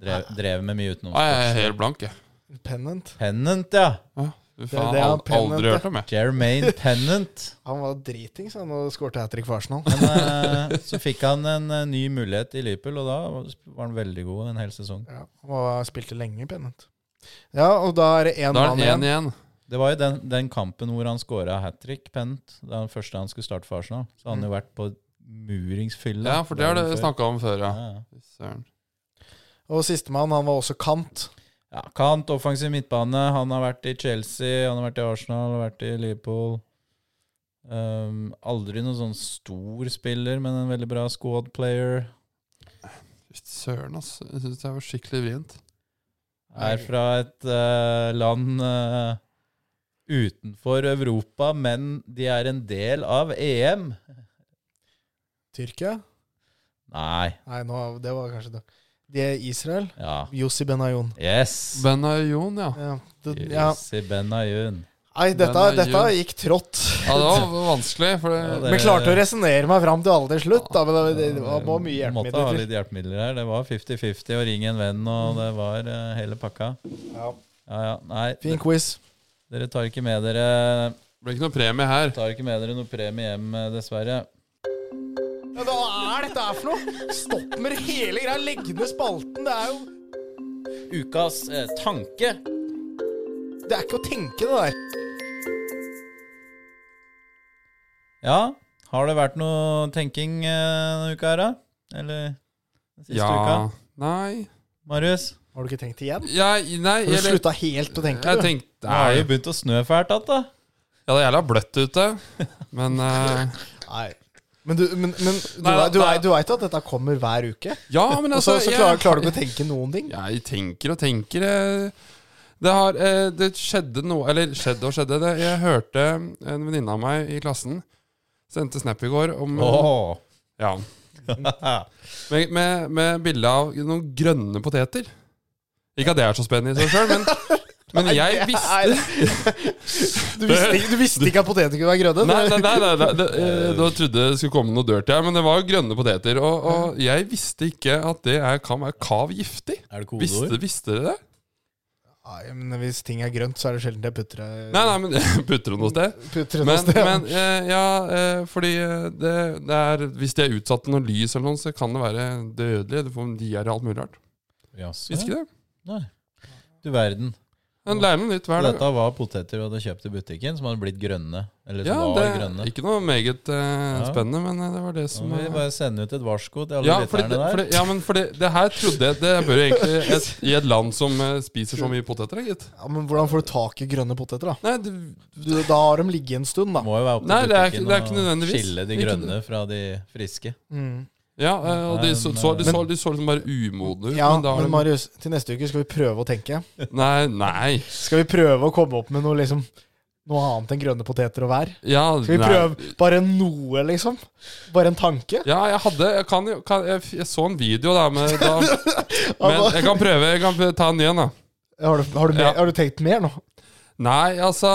drev, drev med
Nei,
mye
jeg er helt
utenomsport.
blank, jeg.
Pennant.
Pennant, ja!
Du
Det-
faen,
det er
al-
pennant,
aldri
det.
hørt om, jeg.
Jermaine Pennant.
Han var dritings han, og skårte hat trick for Arsenal.
Men eh, så fikk han en eh, ny mulighet i Liverpool, og da var han veldig god en hel sesong.
Ja, han var, spilte lenge i Pennant. Ja, og da er det én
Da er
mann
det én
igjen.
igjen.
Det var jo den, den kampen hvor han scora hat trick, Pennant. Det var den første han skulle starte for Arsenal. Så han hadde jo vært på muringsfylla.
Mm. Ja, for det har du snakka om før, ja.
Ja, ja.
Fy Søren.
Og sistemann, han var også kant.
ja, Kant, offensiv midtbane. Han har vært i Chelsea, han har vært i Arsenal, han har vært i Liverpool. Um, aldri noen sånn stor spiller, men en veldig bra squad player.
Fy Søren, ass. Jeg syns det var skikkelig vrient.
Er fra et eh, land eh, utenfor Europa, men de er en del av E EM.
Tyrkia?
Nei.
Nei, nå, det var kanskje det. Det er Israel.
Ja.
Jossi Benayoun.
Yes.
Benayoun, ja.
Ja, det, ja.
Jussi Benayoun.
Nei, dette,
Benayoun.
dette gikk trått.
Ja, det var vanskelig, for
Ja,
det
det-
Men klarte å resonnere meg fram til alle til slutt, da. Men det, det, det var var mye
Måtte ha
hjelpemidler. til.
litt hjelpemidler her. Det var 50-50 å ringe en venn, og det var eh, hele pakka.
Mm. Ja.
Ja, ja. Nei,
Fin quiz.
dere tar ikke med dere
ble ikke noe premie her.
Tar ikke med dere noe premie hjem, eh, dessverre.
Ja, da er dette er for noe? Stopp med det hele greia. Legg ned spalten. Det er jo
Ukas eh, tanke.
Det er ikke å tenke, det der.
Ja, har det vært noe tenking eh, denne uka her, da? Eller den siste uka?
Ja Nei
Marius?
Har du ikke tenkt igjen?
Jeg, nei
Du
jeg,
slutta helt å tenke,
jeg
du.
tenkte
Det har
Nei,
jo begynt å snø fælt igjen, da.
ja, det er jævla bløtt ute. Men eh,
Nei. Men du, men, men, du,
Nei,
du,
nei.
du veit at dette kommer hver uke?
Ja, men
Og så,
altså
så
jeg-
klarer, klarer du ikke å tenke noen ting?
Jeg tenker og tenker jeg- det, har, eh, det skjedde noe Eller skjedde og skjedde det. Jeg hørte en venninne av meg i klassen Sendte snap i går om
Åh.
ja, med, med, med bilde av noen grønne poteter. Ikke at det er så spennende i seg sjøl, men, men jeg visste
Du visste, ikke- du visste ikke at poteter kunne være grønne?
Nei, nei, nei, nei, nei. Det, eh, da trodde jeg det skulle komme noe dirty her, men det var grønne poteter. Og, og jeg visste ikke at det er, kan være kav giftig.
Er det
Visste,
kodeord?
visste dere det?
Nei, men Hvis ting er grønt, så er det sjelden jeg putter det
Nei, nei, men putter det noe sted?
putter det noe
Men,
sted.
men eh, ja, eh, fordi eh, det, det er Hvis de er utsatt for noe lys eller noe, så kan det være dødelig. Du får diaré og alt mulig rart.
Jaså?
Visste ikke det?
Nei. Du verden.
Men lærer noe nytt hver dag.
Dette var poteter du hadde kjøpt i butikken, som hadde blitt grønne. Eller
Ja,
som var
det
grønne.
er ikke noe meget eh, spennende, men eh, det var det
Nå
som
må vi
eh,
bare sende ut et varsko til alle
Ja, fordi,
lytterne
det,
der.
fordi, ja, men fordi det her trodde jeg Det bør jo egentlig et, I et land som eh, spiser så mye poteter, da, gitt.
Ja, men hvordan får du tak i grønne poteter, da?
Nei, det,
Du, da har de ligget en stund, da.
Må jo være opp til
Nei, det er ikke-
butikken
det er ikke
og
nødvendigvis.
skille de
Ikke
grønne fra de friske.
Mm.
ja, eh, og de
Nei,
så,
men,
så, de, så,
men-
de så liksom bare umodne ut.
Ja,
men da har
men
de,
Marius, til neste uke skal vi prøve å tenke.
Nei, nei.
Skal vi prøve å komme opp med noe liksom Noe annet enn grønne poteter og vær?
Ja,
Skal vi
nei.
prøve bare noe, liksom? Bare en tanke?
Ja, jeg hadde Jeg, kan, jo- kan, jeg, f- jeg så en video da, med, da Men
Altså,
jeg kan prøve. Jeg kan ta en ny en, da.
har, du, har, du mer,
Ja.
har du tenkt mer nå?
Nei, altså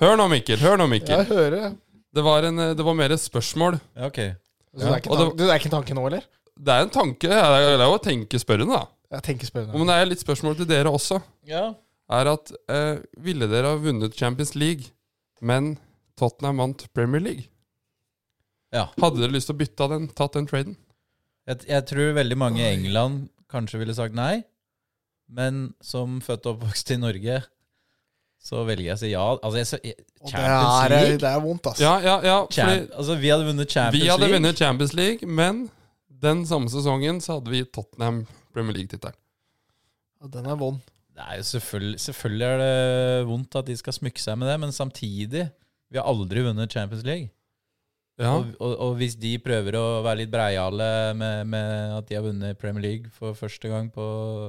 Hør nå, Mikkel. Hør nå, Mikkel.
Jeg hører det.
Det var, en, eh, det var mer et spørsmål.
Ja, ok.
Så det, er ikke
Og det-
tanke, det er ikke en tanke nå, eller?
Det er en tanke. Det er jo å tenke spørrende, da.
Jeg tenker spennende.
Men det er litt spørsmål til dere også.
Ja.
Er at eh, Ville dere ha vunnet Champions League, men Tottenham vant Premier League?
Ja.
Hadde dere lyst til å bytte av den, tatt den traden?
Jeg, jeg tror veldig mange i England kanskje ville sagt nei, men som født og oppvokst i Norge, så velger jeg å si ja. Altså, jeg, så- jeg,
Og det
Champions
er,
League?
det er vondt, ass.
Ja, ja, ja.
Champ,
Fordi
altså, vi hadde vunnet Champions
vi hadde
League.
vunnet Champions League, men den samme sesongen så hadde vi Tottenham Premier League-tittelen.
Ja, Den er vond.
Det er jo selvfølgelig, selvfølgelig er det vondt at de skal smykke seg med det, men samtidig Vi har aldri vunnet Champions League.
Ja.
Og, og, og hvis de prøver å være litt breiale med, med at de har vunnet Premier League for første gang, på,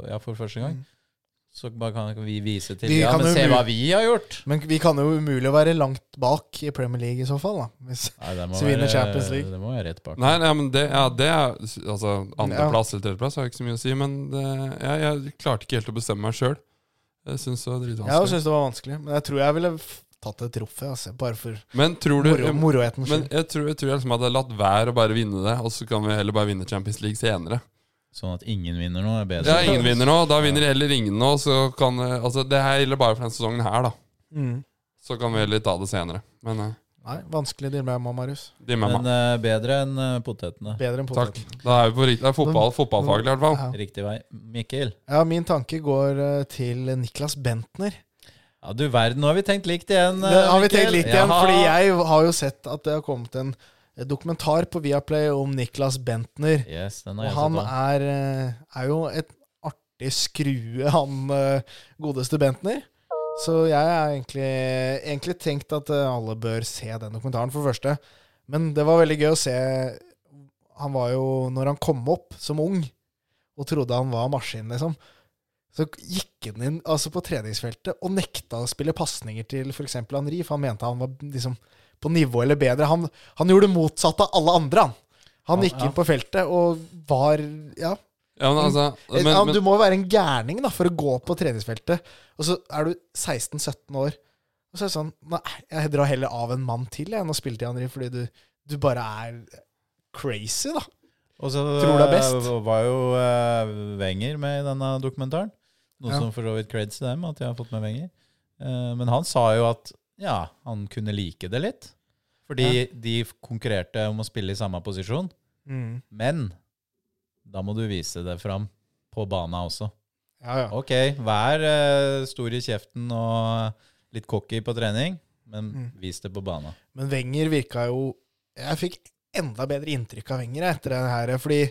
ja, for første gang så bare kan vi vise til
Vi
Ja,
kan
men
jo
se
mu-
hva vi har gjort!
Men vi kan jo umulig å være langt bak i Premier League i så fall, da. Hvis,
Nei, det må
Så vi vinner
være-
Champions League.
Det må være rett bak.
Nei, nei, men det, ja, det er Altså,
Ja.
andreplass eller tredjeplass har ikke så mye å si, men det, jeg, jeg klarte ikke helt å bestemme meg sjøl. Jeg syns det var
jeg
dritvanskelig.
syns det var vanskelig, men jeg tror jeg ville f- tatt et troffe, altså. Bare for
men tror du
moro, morohetens
Men
skyld.
jeg tror jeg, tror jeg liksom hadde latt være å bare vinne det, og så kan vi heller bare vinne Champions League senere.
Sånn at ingen vinner nå, er bedre.
Ja, ingen vinner nå, da vinner heller ingen nå, så kan eh, Altså, det her gjelder bare for denne sesongen her, da.
Mm.
Så kan vi heller ta det senere. Men eh,
Nei, vanskelig dilemma, Marius.
de er med
Men
meg.
eh, bedre enn eh, potetene.
Bedre enn
Takk.
poteten.
Da er vi på riktig. Det er fotball, fotballfaglig, i hvert fall.
Ja.
Riktig vei. Mikkel?
ja, min tanke går eh, til Niklas Bentner.
Ja, du verden, nå har vi tenkt likt igjen.
Det har vi
Mikkel.
tenkt litt igjen,
Jaha.
fordi jeg har jo sett at det har kommet en eh, dokumentar på Viaplay om Niklas Bentner.
Yes, den har
Og
jeg
han
sett også.
er, eh, er jo et artig skrue, han eh, godeste Bentner. Så jeg har egentlig, egentlig tenkt at eh, alle bør se den dokumentaren, for det første. Men det var veldig gøy å se Han var jo, når han kom opp som ung og trodde han var maskin, liksom, så gikk han inn altså på treningsfeltet og nekta å spille pasninger til f.eks. Henri, for han mente han var liksom på nivå eller bedre. Han, han gjorde det motsatte av alle andre, han. Han
Han-
gikk
ja.
inn på feltet og var Ja,
Ja, men altså men,
ja,
men,
du må jo være en gærning da, for å gå på treningsfeltet. Og så er du 16-17 år. Og så er det sånn Nei, jeg drar heller av en mann til jeg, enn å spille til Henri, fordi du, du bare er crazy, da.
Og så
Tror det er best.
eh, var jo eh, Wenger med i denne dokumentaren. Noe
Ja.
som for så vidt creds til dem, at de har fått med Wenger. Eh, men han sa jo at ja, han kunne like det litt. Fordi de konkurrerte om å spille i samme posisjon.
Mm.
Men da må du vise det fram på bana også.
Ja, ja.
Ok, vær eh, stor i kjeften og litt cocky på trening, men
Mm.
vis det på bana.
Men Wenger virka jo Jeg fikk enda bedre inntrykk av Wenger jeg, etter det her. Fordi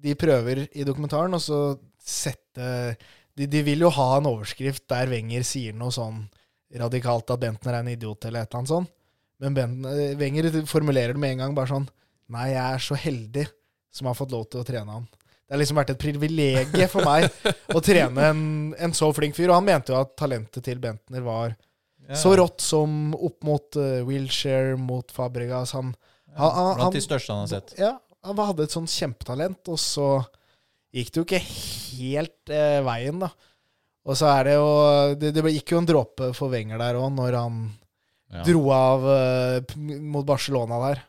de prøver i dokumentaren også å sette de, de vil jo ha en overskrift der Wenger sier noe sånn radikalt at Bentner er en idiot eller et eller annet sånn. Men Bentner, Wenger formulerer det med en gang bare sånn Nei, jeg er så heldig som har fått lov til å trene han. Det har liksom vært et privilegium for meg å trene en, en så flink fyr. Og han mente jo at talentet til Bentner var
Ja,
så rått som opp mot eh, Wilshere, mot Fabregas. Han,
ja,
han- han-
Blant de største han har sett.
ja, han hadde et sånn kjempetalent, og så gikk det jo ikke helt eh, veien, da. Og så er det jo Det, det gikk jo en dråpe for Wenger der òg, når han
Ja.
dro av eh, p- mot Barcelona der.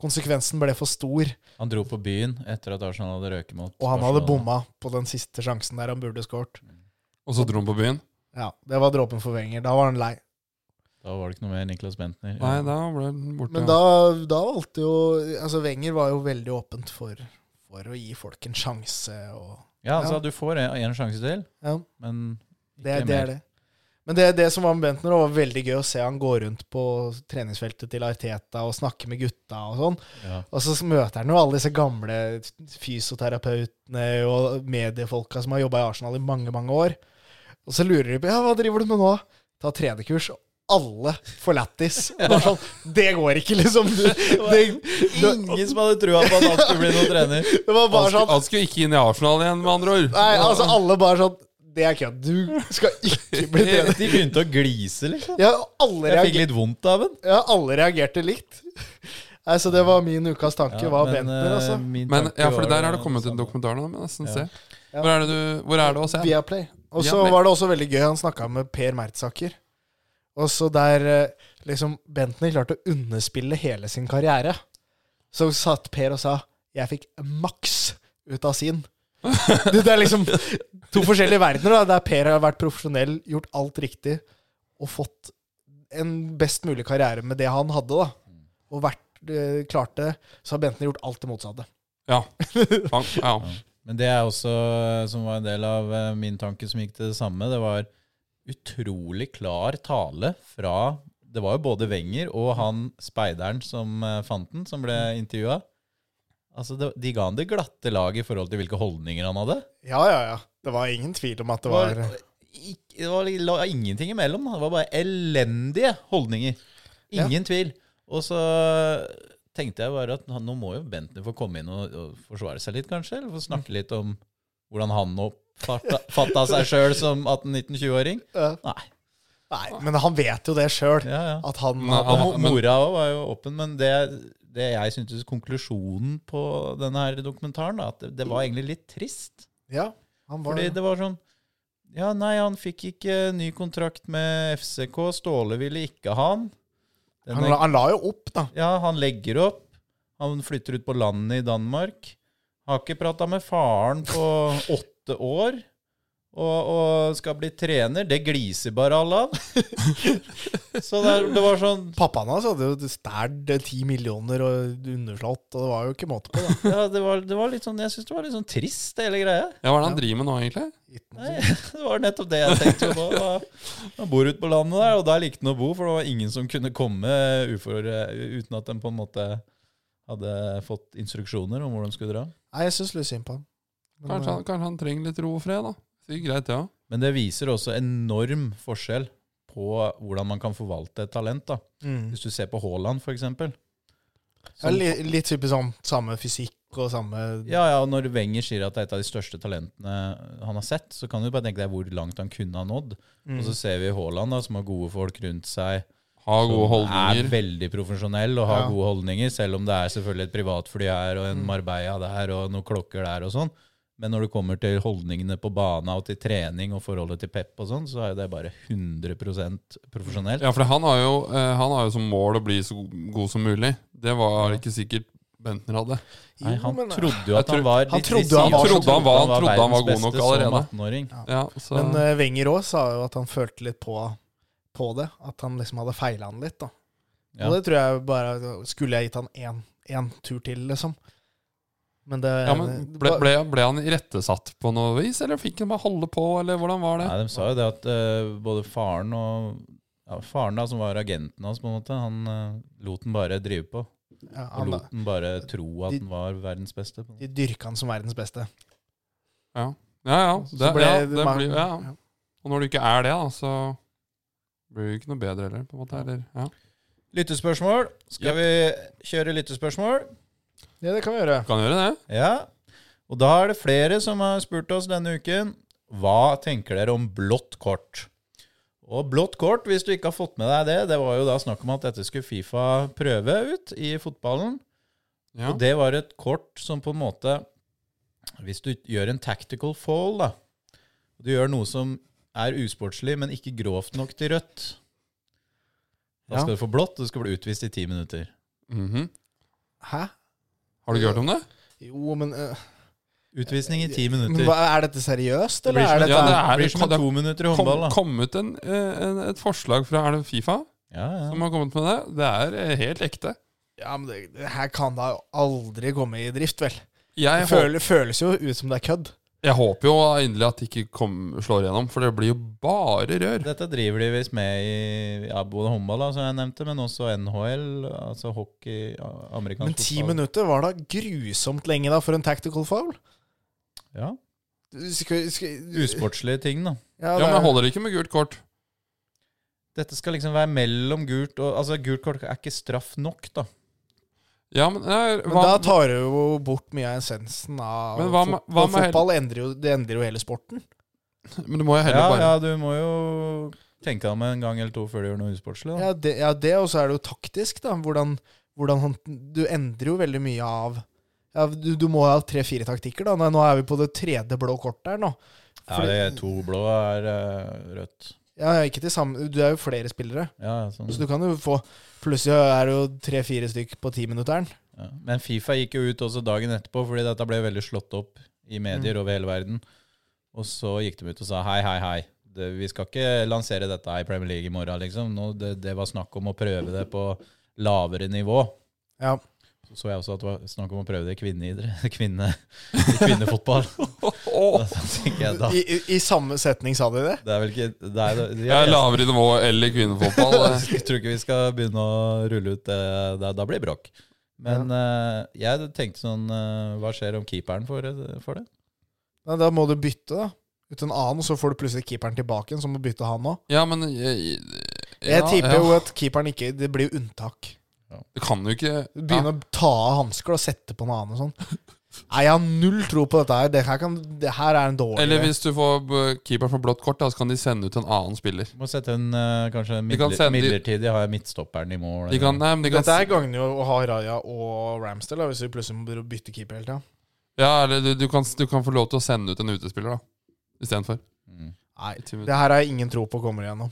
Konsekvensen ble for stor,
Han dro på byen etter at Arsenal hadde røket mot
og han hadde
Barcelona.
bomma på den siste sjansen der han burde skåret.
Og så dro han på byen.
Ja, det var dråpen for Wenger. Da var han lei.
Da var det ikke noe mer Niklas Bentner.
Nei, da ble han borte.
Men
ja.
da, da valgte jo Altså, Wenger var jo veldig åpent for, for å gi folk en sjanse, og
Ja, altså,
Ja.
du får én sjanse til,
ja,
men ikke
det, det
mer.
er det. Men det, det som var med Bentner, var veldig gøy å se han gå rundt på treningsfeltet til Arteta og snakke med gutta og sånn.
Ja.
Og så møter han jo alle disse gamle fysioterapeutene og mediefolka som har jobba i Arsenal i mange, mange år. Og så lurer de på ja, hva driver du med nå? Ta trenerkurs. og Alle får lættis. Og det er Sånn, det går ikke, liksom. Du, det,
Ingen som hadde trua på at han skulle bli noen trener.
det var
Han
bare
skulle,
sånn
han skulle ikke inn i Arsenal igjen, med andre ord.
Nei, altså alle bare sånn Det er kødd. Du skal ikke bli trener.
De begynte å glise, liksom.
Ja, alle,
Jeg fikk
reager,
litt vondt av den.
ja, alle reagerte likt. Nei, så det var min ukas tanke. var Bentner,
eh,
altså.
Men ja, for der har det kommet en dokumentar nå. men nesten se.
Ja.
Hvor er det, du, hvor er det å se?
Viaplay. Og så
Viaplay.
var det også veldig gøy, han snakka med Per Mertsaker. Og så der eh, liksom Bentner klarte å underspille hele sin karriere. Så satt Per og sa 'Jeg fikk maks ut av sin'. Det, det er liksom to forskjellige verdener, da, der Per har vært profesjonell, gjort alt riktig og fått en best mulig karriere med det han hadde, da. Og vært, eh, klarte Så har Bentner gjort alt det motsatte.
Ja. Fan, ja.
Men det er også, eh, som var en del av eh, min tanke som gikk til det samme, det var utrolig klar tale fra Det var jo både Wenger og han speideren som eh, fant den, som ble intervjua. Altså, det, De ga han det glatte lag i forhold til hvilke holdninger han hadde.
Ja, ja, ja. Det var ingen tvil om at det
Det
var
var, ikk- det var li- la ingenting imellom. da. Det var bare elendige holdninger. Ingen tvil. Og så tenkte jeg bare at han- nå må jo Bentner få komme inn og, og forsvare seg litt, kanskje? Eller få snakke litt om hvordan han oppfatta seg sjøl som 18-19-20-åring.
Ja.
Nei.
Nei, men han vet jo det sjøl.
Ja, ja.
At han
Nei,
hadde
han-
Og
men-
Mora òg var jo åpen, men det, det jeg syntes konklusjonen på denne her dokumentaren, da, at det, det var egentlig litt trist.
Ja, han var
Fordi det var sånn Ja, nei, han fikk ikke eh, ny kontrakt med FCK. Ståle ville ikke ha han.
han,
Den
la, han la jo opp, da.
ja, han legger opp. Han flytter ut på landet i Danmark. Har ikke prata med faren på åtte år. Og, og skal bli trener. Det gliser bare alle av. Så det, er- det var sånn
Pappaen hans hadde jo stjålet eh, ti millioner og underslått, og det var jo ikke måte på, da.
Ja, det var, det var litt sånn Jeg syns det var litt sånn trist, hele greia.
ja, hva er det han driver med nå, egentlig?
Nei, det var nettopp det jeg tenkte på. Da, han bor ute på landet der, og der likte han å bo, for det var ingen som kunne komme ufor, eh, uten at de på en måte hadde fått instruksjoner om hvor de skulle dra.
Nei, jeg syns litt synd på han. Men, eh,
Kanskje han, kanskje han trenger litt ro og fred, da. Sikkert greit, det ja. òg.
Men det viser også enorm forskjell på hvordan man kan forvalte et talent. da.
mm.
Hvis du ser på Haaland, for eksempel.
ja,
Som-
li, litt typisk sånn samme fysikk og samme
Ja, ja, og Når Wenger sier at det er et av de største talentene han har sett, så kan du bare tenke deg hvor langt han kunne ha nådd.
mm.
Og så ser vi Haaland, da, som har gode folk rundt seg.
Ha gode
Som er
holdninger.
veldig profesjonell og har
Ja. Mm.
gode holdninger, selv om det er selvfølgelig et privatfly her og en Marbella der og noen klokker der og sånn. Men når det kommer til holdningene på bana og til trening og forholdet til Pep og sånn, så er det bare 100 profesjonelt.
Ja, for han har, jo, eh, han har jo som mål å bli så god som mulig. Det var ikke sikkert Bentner hadde.
Nei, han
Jo, men- eh,
trodde jo
Jeg
at han
tror-
var
han
de- de
trodde
sier
han
jo
var-
at
trodde han var-
var
trodde han var
verdens
god nok
beste som
allerede.
18-åring.
Ja, så
Men eh, Wenger òg sa jo at han følte litt på, på det. At han liksom hadde feila han litt, da.
Ja.
Og det tror jeg bare Skulle jeg gitt han én, én tur til, liksom, Men det
Ja, men ble, ble, ble han irettesatt på noe vis, eller fikk han bare holde på, eller hvordan var det?
Nei, de sa jo det at eh, både faren og ja, Faren, da, som var agenten hans, på en måte, han eh, lot den bare drive på.
ja,
Og
han,
lot den bare tro at
De-
den var verdens beste. på en måte.
de dyrka han som verdens beste.
Ja, ja,
Så
det,
ble
ja,
det
det
mange-
blir, ja. Og når du ikke er det, da, så blir det ikke noe bedre heller, på en måte. Eller, ja.
Lyttespørsmål. Skal vi kjøre lyttespørsmål?
Ja, det kan vi gjøre.
Du kan gjøre det.
Ja. Og da er det flere som har spurt oss denne uken hva tenker dere om blått kort. Og blått kort, hvis du ikke har fått med deg det, det var jo da snakk om at dette skulle Fifa prøve ut i fotballen.
Ja.
Og det var et kort som på en måte Hvis du gjør en tactical fall, da og Du gjør noe som er usportslig, men ikke grovt nok til rødt. Da
Ja.
skal du få blått, og du skal bli utvist i ti minutter.
Mhm.
Hæ?
Har du ikke hørt om det?
Jo, men, øh,
Utvisning i ti
men
minutter.
hva, Er dette seriøst,
Det blir
eller er
som en-
dette
ja, det
Det
er-
blir som en
det-
to minutter i
Kom,
håndball, da.
kom ut en, eh, en, et forslag fra er det Fifa
Ja, ja.
som har kommet med det. Det er eh, helt ekte.
Ja, men det, det her kan da aldri komme i drift, vel?
Jeg,
Det føl, føles jo ut som det er kødd.
håper, jeg håper jo inderlig at det ikke kom, slår igjennom, for det blir jo bare rør.
Dette driver de visst med i ja, både håndball, da, som jeg nevnte, men også NHL, altså hockey, ja,
Men
amerikansk
ti
fotball.
minutter var da grusomt lenge da for en tactical foul.
Ja.
Du Skal, skal,
Usportslige ting, da.
Ja,
Ja, det
Men
er-
holder det ikke med gult kort?
Dette skal liksom være mellom gult og Altså, gult kort er ikke straff nok, da.
Ja, men, nei,
men
hva,
da tar du jo bort mye av essensen av
Men hva med-
fot-
hva med-
fotball. Endrer jo, det endrer jo hele sporten.
men du må jo heller
Ja,
bare
ja, du må jo tenke deg om en gang eller to før du gjør noe usportslig, da.
Ja, det, ja, det og så er det jo taktisk, da. Hvordan, hvordan han, du endrer jo veldig mye av ja, du, du må ha tre-fire taktikker, da. Nei, Nå er vi på det tredje blå kortet her nå.
Ja, det er to blå er eh, rødt.
Ja, ja, ikke til samme Du er jo flere spillere,
Ja, sånn.
så du kan jo få Plutselig er det jo tre-fire stykk på timinutteren.
Ja. Men Fifa gikk jo ut også dagen etterpå, fordi dette ble veldig slått opp i medier over hele verden. Og så gikk de ut og sa hei, hei, hei. Det, vi skal ikke lansere dette i Premier League i morgen, liksom. Nå, det, det var snakk om å prøve det på lavere nivå.
Ja.
Så så jeg også at det var snakk om å prøve det i kvinneidrett. Kvinne, i kvinnefotball.
Åh,
Da tenker jeg da.
I, i, I samme setning sa de det?
Det er vel ikke det er, de
Jeg
er
er lavere nivå eller kvinnefotball. eh.
Jeg tror ikke vi skal begynne å rulle ut det. Da, da blir det bråk. Men eh, jeg tenkte sånn eh, Hva skjer om keeperen får det- får det?
Nei, da må du bytte, da. Ut en annen, så får du plutselig keeperen tilbake igjen, så må du bytte han òg.
Ja, men jeg,
Jeg
ja,
tipper
ja.
jo at keeperen ikke Det blir jo unntak.
Det kan jo ikke
Du begynner å ta av hansker og sette på en annen og sånn. Nei, jeg har null tro på dette her. Det her, kan, det her er en dårlig
Eller hvis du får b- keeper for blått kort, da, så kan de sende ut en annen spiller.
Du må sette en eh, kanskje en
Vi kan
midler,
sende-
midlertidig ha midtstopperen i mål.
De kan,
eller-
nei, men de kan
Dette
s-
her gagner jo å ha Raja og Ramsdale, da, hvis vi plutselig må begynne å bytte keeper hele tida.
Ja, eller du, du, kan, s- du kan få lov til å sende ut en utespiller, da. Istedenfor.
Mm.
Nei, det her har jeg ingen tro på kommer igjennom.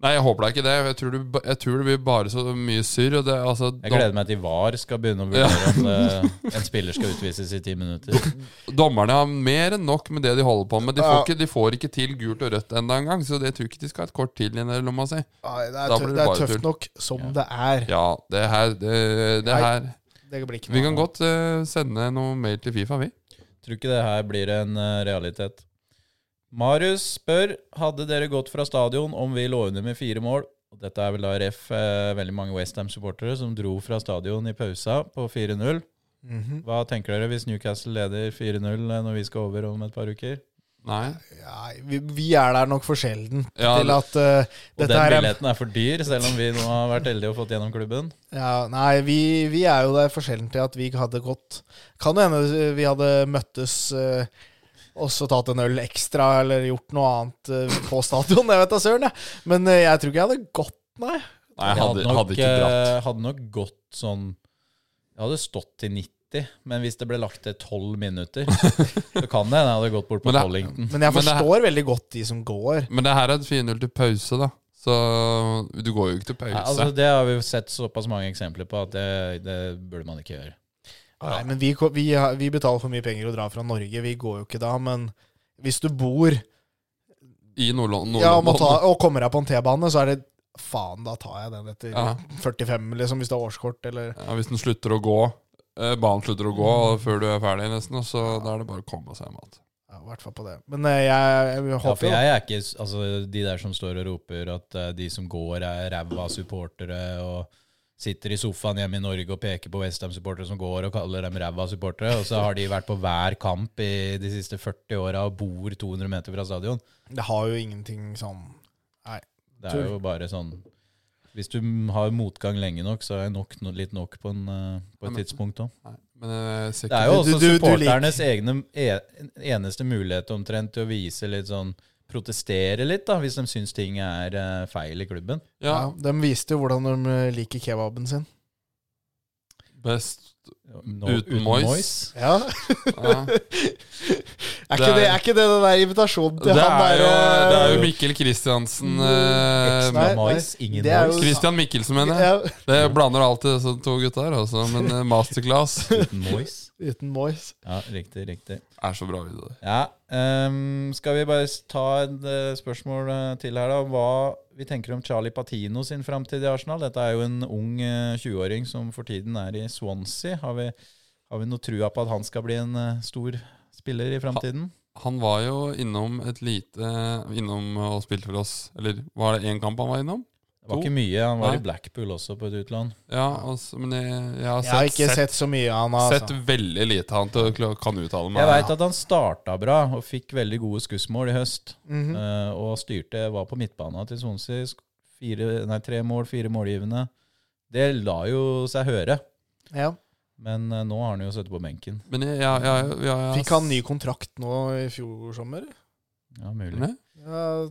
Nei, jeg håper da ikke det. Jeg tror, du, ba- jeg tror det blir bare så mye surr. og det- Altså,
Jeg gleder meg til VAR skal begynne å
Ja.
vurdere om eh, en spiller skal utvises i ti minutter.
dom- Dommerne har mer enn nok med det de holder på med. De får
Ja.
ikke, de får ikke til gult og rødt enda en gang, så det tror jeg ikke de skal ha et kort til i den lomma si.
Nei, det er,
Da
tø
blir det
det er
bare
tøft
tull.
nok som
Ja.
det er.
Ja, det her Det, det
Nei.
her
Det blir ikke
Vi kan
noe.
godt eh, sende noe mail til Fifa, vi.
Tror ikke det her blir en eh, realitet. Marius spør hadde dere gått fra stadion om vi lå under med fire mål. Og Dette er vel da ref eh, veldig mange Westham-supportere som dro fra stadion i pausa på 4-0.
Mhm.
Hva tenker dere hvis Newcastle leder 4-0 når vi skal over om et par uker?
Nei.
Nei, vi, vi er der nok for sjelden
Ja,
til at eh,
Og
dette
den
her er
billetten er for dyr, selv om vi nå har vært heldige og fått gjennom klubben.
Ja, nei, vi, vi er jo der for sjelden til at vi ikke hadde gått Kan jo hende vi hadde møttes eh, og så tatt en øl ekstra eller gjort noe annet eh, på stadion. Jeg vet da søren, jeg. Men eh, jeg tror ikke jeg hadde gått, nei.
Nei, jeg hadde, hadde ikke dratt.
eh, hadde nok gått sånn Jeg hadde stått til 90, men hvis det ble lagt til 12 minutter, så kan det hende jeg hadde gått bort på
Men det-
Men
Tollington.
jeg
Men det her-
forstår veldig godt de som går.
Men det her er et 4-0 til pause, da. Så du går jo ikke til pause.
Nei, altså, det har vi jo sett såpass mange eksempler på at det, det burde man ikke gjøre.
Nei, men vi, ko- vi, har- vi betaler for mye penger å dra fra Norge. Vi går jo ikke da, men hvis du bor
I Nordland.
ja, og må ta, og kommer deg på en T-bane, så er det Faen, da tar jeg den etter
Ja.
45, liksom, hvis du har årskort eller
Ja, hvis den slutter å gå eh, banen slutter å gå før du er ferdig, nesten. Og så da er det bare å komme seg hjem igjen.
Ja, I hvert fall på det. Men eh, jeg, jeg
Ja, for
håper jo
jeg er ikke s- altså, de der som står og roper at eh, de som går, er ræva supportere og sitter i sofaen hjemme i Norge og peker på Westham-supportere som går og kaller dem ræva supportere. Og så har de vært på hver kamp i de siste 40 åra og bor 200 meter fra stadion.
Det har jo ingenting sånn
Det er jo bare sånn Hvis du m- har motgang lenge nok, så er nok, no- litt nok på, en, eh, på
Ja,
et
men-
tidspunkt òg.
Nei, Men eh, jeg ser
Det
ikke
er jo
Du- du-
også
du
supporternes egne, e- eneste mulighet omtrent til å vise litt sånn Protestere litt, da, hvis de syns ting er eh, feil i klubben.
ja,
ja. De viste jo hvordan de eh, liker kebaben sin.
best
No,
Uten Moyes.
Ja.
ja.
Er
Det
ikke
er-
det, er ikke det den der invitasjonen til
det,
han
er jo,
der,
det er jo
eh,
Mikkel Kristiansen
Eksen
eh,
her.
Nei,
Nei,
Moyes, ingen
det er Mm, jo-
Moyes.
Christian Mikkelsen, mener jeg.
ja,
Det blander alltid disse to gutta her, altså. Men eh, masterclass
Uten Moyes.
Uten Moyes.
Ja, riktig, riktig.
er så bra video. der.
Ja, ehm, skal vi bare s- ta et eh, spørsmål eh, til her, da. Hva vi tenker om Charlie Patino sin framtid i Arsenal? Dette er jo en ung eh, 20-åring som for tiden er i Swansea. Har vi, har vi noe trua på at han skal bli en eh, stor spiller i framtiden?
Han var jo innom et lite eh, Innom og spilte for oss. Eller var det én kamp han var innom?
Det var ikke mye. Han var
Nei.
i Blackpool også, på et utlån.
Ja, altså, men jeg, jeg har
Jeg
sett,
har ikke
sett,
sett så mye av han.
sett,
Altså.
veldig lite han til å kla- kan uttale meg.
Jeg veit at han starta bra og fikk veldig gode skussmål i høst.
Mhm.
Eh, og styrte, var på midtbana til Swansea. sk- Fire, nei, tre mål, fire målgivende. Det la jo seg høre,
ja.
men eh, nå har han jo sittet på benken.
Men jeg, jeg, jeg, jeg, jeg
Fikk han ny kontrakt nå i fjor sommer?
Ja, mulig.
Nei?
Ja,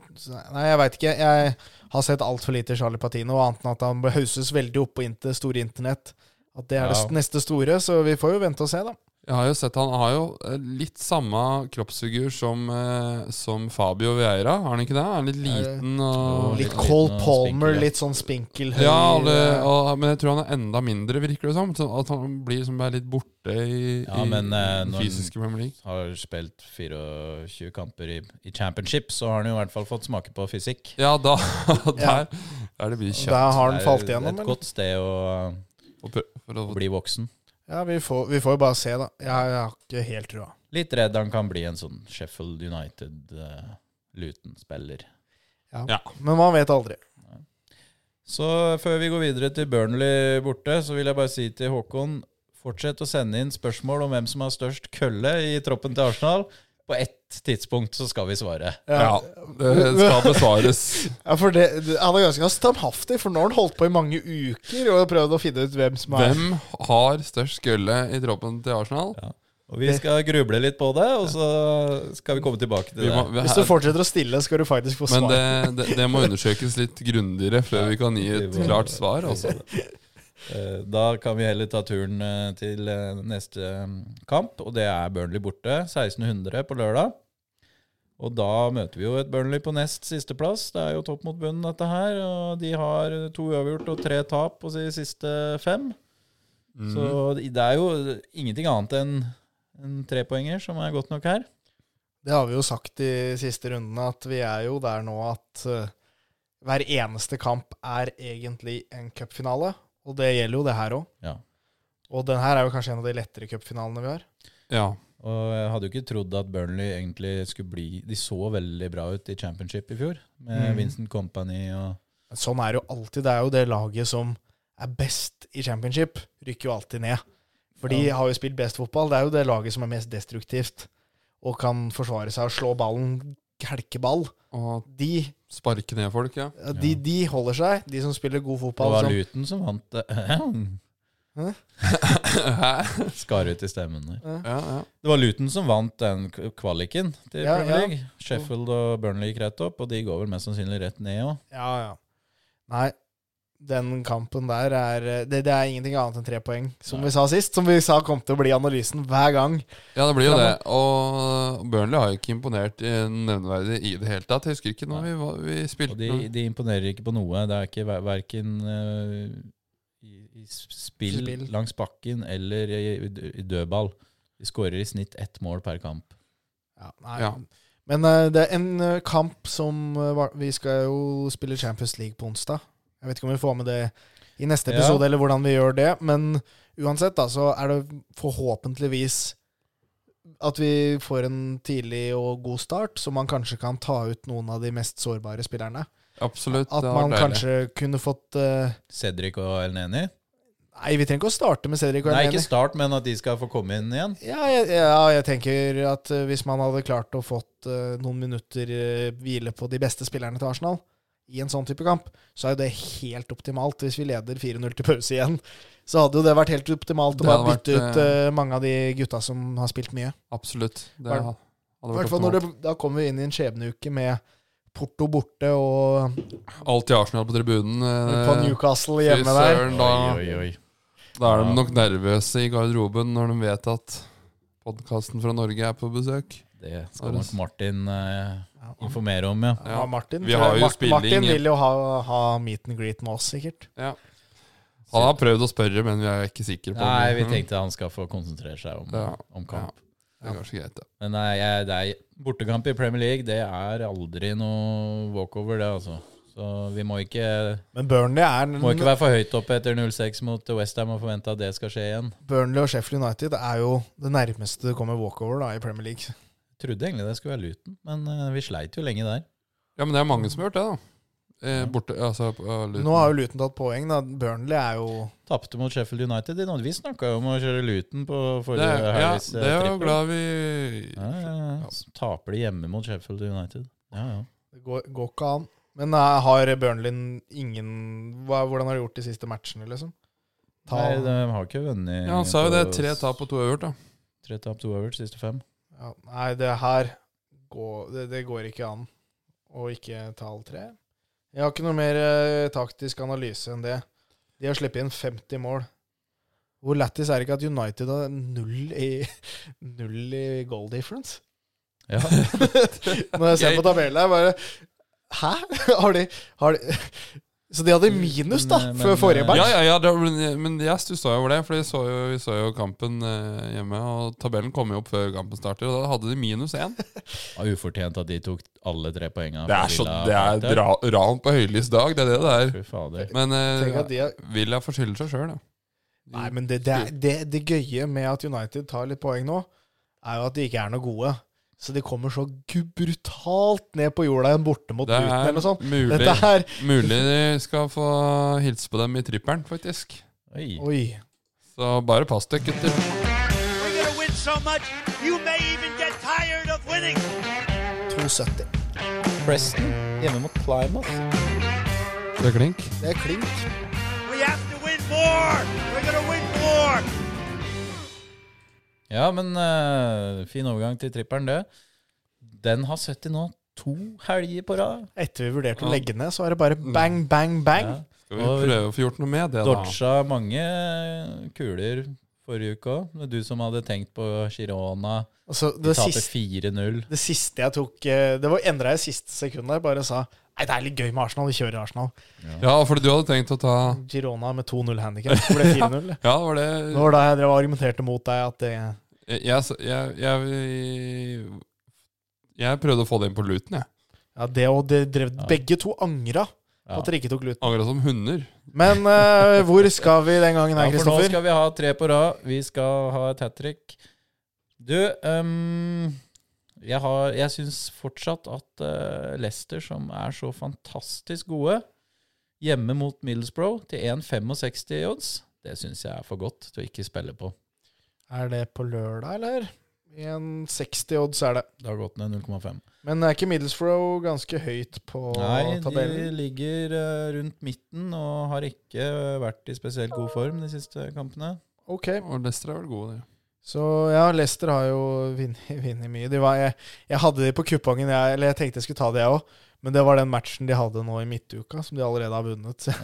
nei, jeg veit ikke. Jeg har sett altfor lite Charlie Patino, annet enn at han bør hauses veldig opp på inter, store internett. At det er
Ja.
det neste store, så vi får jo vente og se, da.
Jeg har jo sett han har jo eh, litt samme kroppsfigur som, eh, som Fabio Vieira, har han ikke det? Han er litt
Ja, det-
liten og
Litt
liten
Cole
og
Palmer,
spinkel, ja.
litt sånn spinkel. høy,
Ja, og det,
eh,
og, men jeg tror han er enda mindre, virker det som. Sånn at han blir liksom bare litt borte i,
Ja,
i
men, eh,
den
når-
fysiske Premier League.
Har spilt 24 kamper i, i championship, så har han jo i hvert fall fått smake på fysikk.
Ja, da
Ja.
der er det mye kjøtt
Der har han
Det er
falt igjennom,
Et
eller?
godt sted å,
å prø- for å
å bli voksen.
Ja, vi får, vi får jo bare se, da. Jeg, jeg har ikke helt trua.
Litt redd han kan bli en sånn Sheffield United-Luton-spiller.
Men man vet aldri.
Så eh, før vi går videre til Burnley borte, så vil jeg bare si til Håkon Fortsett å sende inn spørsmål om hvem som har størst kølle i troppen til Arsenal. På ett tidspunkt så skal vi svare.
Ja, det skal besvares.
Ja, for det, det, Han er ganske standhaftig, for nå har han holdt på i mange uker og prøvd å finne ut hvem som er
Hvem har størst gulle i troppen til Arsenal?
Og vi skal gruble litt på det, og så skal vi komme tilbake til
Vi
det.
må, vi,
Hvis du fortsetter å stille, skal du faktisk få
men
svar.
det, det, det må undersøkes litt grundigere før vi kan gi et klart svar. Altså.
Eh, Da kan vi heller ta turen eh, til eh, neste eh, kamp, og det er Burnley borte. 1600 på lørdag. Og da møter vi jo et Burnley på nest siste plass. Det er jo topp mot bunnen, dette her. Og de har eh, to uavgjort og tre tap på de siste fem. Så
Mhm.
det er jo ingenting annet enn en trepoenger som er godt nok her.
Det har vi jo sagt de siste rundene, at vi er jo der nå at eh, hver eneste kamp er egentlig en cupfinale. Og det gjelder jo det her òg.
Ja.
Og den her er jo kanskje en av de lettere cupfinalene vi har.
Ja.
Og jeg hadde jo ikke trodd at Burnley egentlig skulle bli De så veldig bra ut i championship i fjor, med
Mm.
Vincent Company og
Sånn er det jo alltid. Det er jo det laget som er best i championship, rykker jo alltid ned. For de
Ja.
har jo spilt best fotball. Det er jo det laget som er mest destruktivt og kan forsvare seg og slå ballen, kelkeball.
Og
De,
sparke ned folk, ja.
de, de holder seg, de som spiller god
Det
fotball.
var
Som,
Luton som vant det.
Hæ?
Skar ut i stemmen der.
Ja, ja.
Det var Luton som vant den k- kvaliken til
Ja,
Premier
ja.
League. Sheffield og Burnley gikk rett opp, og de går vel mest sannsynlig rett ned òg.
Ja, ja. Nei, den kampen der er eh, Det, det er ingenting annet enn tre poeng, som
Nei.
vi sa sist. Som vi sa kom til å bli analysen hver gang.
Ja, det blir jo det. Og Burnley har jo ikke imponert i nevneverdig i det hele tatt. Jeg husker ikke når vi, var- vi
Og
spilte
de,
noe.
de imponerer ikke på noe. Det er ikke ver- verken eh, i, i s- spill,
Spill.
langs bakken eller i, i, d- i dødball. De skårer i snitt ett mål per kamp.
Ja, nei.
Ja.
Men eh, det er en eh, kamp som eh, var- Vi skal jo spille Champions League på onsdag. Jeg vet ikke om vi får med det i neste
Ja.
episode, eller hvordan vi gjør det. Men uansett da, så er det forhåpentligvis at vi får en tidlig og god start, så man kanskje kan ta ut noen av de mest sårbare spillerne.
Absolutt.
At
det har
man
vært deilig.
kanskje kunne fått eh,
Cedric og Elneny?
Nei, vi trenger ikke å starte med Cedric og
Nei,
Elneny.
ikke start, men at de skal få komme inn igjen.
Ja, jeg, ja, jeg tenker at eh, hvis man hadde klart å fått eh, noen minutter eh, hvile på de beste spillerne til Arsenal i en sånn type kamp, så er jo det helt optimalt. Hvis vi leder 4-0 til pause igjen, så hadde jo det vært helt optimalt
Det
å bare
hadde
bytte
vært,
ut eh, mange av de gutta som har spilt mye.
Absolutt. Det
Hvert-
ha- hadde
I
vært
hvert fall
optimalt.
når det, da kommer vi inn i en skjebneuke med Porto borte og
Alt i Arsenal på tribunen. eh,
på Newcastle
fy
hjemme der.
søren,
Oi,
Da,
oi, oi.
da er de nok nervøse i garderoben når de vet at podkasten fra Norge er på besøk.
Det skal nok Martin eh, informere om, ja.
Ja, Martin,
Vi har jo
Mart-
spilling-
Martin vil jo ha, ha meet and greet med oss, sikkert.
Han har prøvd å spørre, men vi er ikke sikre på om-
Nei, vi tenkte han skal få konsentrere seg om,
Ja.
om kamp.
Det er kanskje greit, det.
Men nei, jeg, det er, bortekamp i Premier League, det er aldri noe walkover, det, altså. Så vi må ikke,
Men Burnley er
må ikke være for høyt oppe etter 0-6 mot Westham og forvente at det skal skje igjen.
Burnley og Sheffield United er jo det nærmeste det kommer walkover da i Premier League.
Trodde egentlig det skulle være Luton, men eh, vi sleit jo lenge der.
Ja, men det er mange som har gjort det, da. Eh, borte, altså, på- ja, Luton.
Nå har jo Luton tatt poeng, da. Burnley er jo
Tapte mot Sheffield United. i Norge. Vi snakka jo om å kjøre Luton
det,
på forrige
er- ja,
helgs, eh,
det er jo
trippel.
glad vi
Ja, ja, ja. Så Taper de hjemme mot Sheffield United. Ja, ja.
Det går, går ikke an. Men eh, har Burnley ingen hva, Hvordan har de gjort de siste matchene, liksom? Ta,
Nei, de har ikke vunnet
Ja, Han sa jo det.
på
Tre tap og to øvert, da.
Tre tap, to over, siste fem.
ja, nei, det her går, det, det går ikke an å ikke ta alle tre. Jeg har ikke noe mer eh, taktisk analyse enn det. De har sluppet inn 50 mål. Hvor lættis er det ikke at United har null i, null i goal difference?
Ja.
Når jeg ser på tabellen her, bare Hæ? Har de, har de Så de hadde minus, da,
Men-
før
men-
forrige
Ja,
match?
ja, ja, det, men- men jeg stussa jo over det, for vi så jo, vi så jo kampen eh, hjemme. Og tabellen kom jo opp før kampen starter, og da hadde de minus én.
Ja, Ufortjent at de tok alle tre poengene.
Det
fra
er, så,
Villa
det er
Park der.
dra, ran på høylys dag, det er det det er.
Fy fader.
Men
Tenk at
eh,
de har,
Villa får skylde seg sjøl, ja.
nei, men det, det, er- det, det gøye med at United tar litt poeng nå, er jo at de ikke er noe gode. Så de kommer så gu- brutalt ned på jorda igjen borte mot
Det
Luton eller noe
er
sånt.
mulig,
Dette her
mulig de skal få hilse på dem i trippelen, faktisk.
Oi.
Oi.
Så bare pass dere, gutter.
We're going to win so much, you may even get tired of winning.
2,70.
Preston hjemme mot Plymouth.
Det er klink.
Det er klink.
We have to win more. We're going to win more.
Ja, men eh, fin overgang til tripperen, det. Den har 70 nå. To helger på rad.
Etter vi vurderte å
Ja. Mm.
legge ned, så er det bare bang, bang, bang.
Ja.
Skal vi prøve å få gjort noe med det, da?
Dodja mange kuler forrige uke òg. Du som hadde tenkt på Girona.
Altså, det,
Taper
siste,
4-0.
det siste jeg tok eh, Det var endra i siste sekund der. Bare sa Nei, det er litt gøy med Arsenal. Vi kjører Arsenal.
Ja, fordi du hadde tenkt å ta
Girona med 2-0-handikap. Det ble 4-0.
Ja, det var
Det
det
var da jeg drev og argumenterte mot deg at det
jeg, jeg, jeg, jeg prøvde å få det inn på Luton, jeg.
Ja, det og det drev
Ja.
Begge to angra på
Ja.
at dere ikke tok gluten.
Angra som hunder.
Men eh, hvor skal vi den gangen
Ja,
her,
for nå
Kristoffer?
skal vi ha tre på rad. Vi skal ha et hat trick. Du, ehm, jeg, har- jeg syns fortsatt at eh, Leicester, som er så fantastisk gode, hjemme mot Middlesbrough til 1,65 odds, det syns jeg er for godt til å ikke spille på.
Er det på lørdag, eller? I en 60 odds er det.
Da har gått ned 0,5.
Men er ikke Middlesbrough ganske høyt på
Nei, de
tabellen?
ligger eh, rundt midten og har ikke vært i spesielt god form de siste kampene.
Ok.
Og Leicester er vel gode, de.
Så ja, Leicester har jo vunnet vunnet mye. De var, jeg, jeg hadde de på kupongen, jeg, eller jeg tenkte jeg skulle ta det, jeg òg. Men det var den matchen de hadde nå i midtuka, som de allerede har vunnet. Så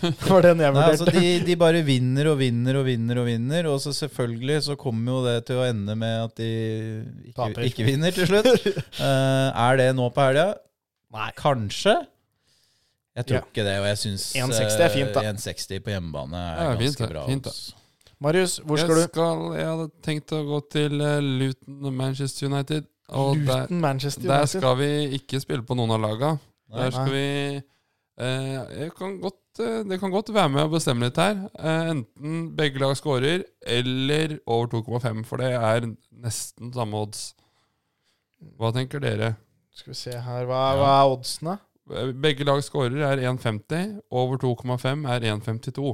det var den jeg
Nei, altså
vurderte.
de, de bare vinner og vinner og vinner og vinner. Og så selvfølgelig så kommer jo det til å ende med at de ikke,
Taper.
ikke vinner til slutt. Eh, er det nå på helga?
Nei.
Kanskje? Jeg tror
Ja.
ikke det, og jeg eh, syns
1,60 er fint, da.
1,60 på hjemmebane er
Ja,
ganske
fint det,
bra. altså.
fint det.
odds.
Marius, hvor skal
jeg
du?
skal Jeg hadde tenkt å gå til eh, Luton og Manchester United. Og der,
Luton Manchester
der
United.
skal vi ikke spille på noen av laga.
Nei.
Der skal vi eh, Jeg kan godt eh, det kan godt være med å bestemme litt her. Eh, Enten begge lag scorer, eller over 2,5, for det er nesten samme odds. Hva tenker dere? Eh,
Skal vi se her, hva, er- hva er oddsene?
Begge lag scorer er 1,50. Over 2,5 er 1,52.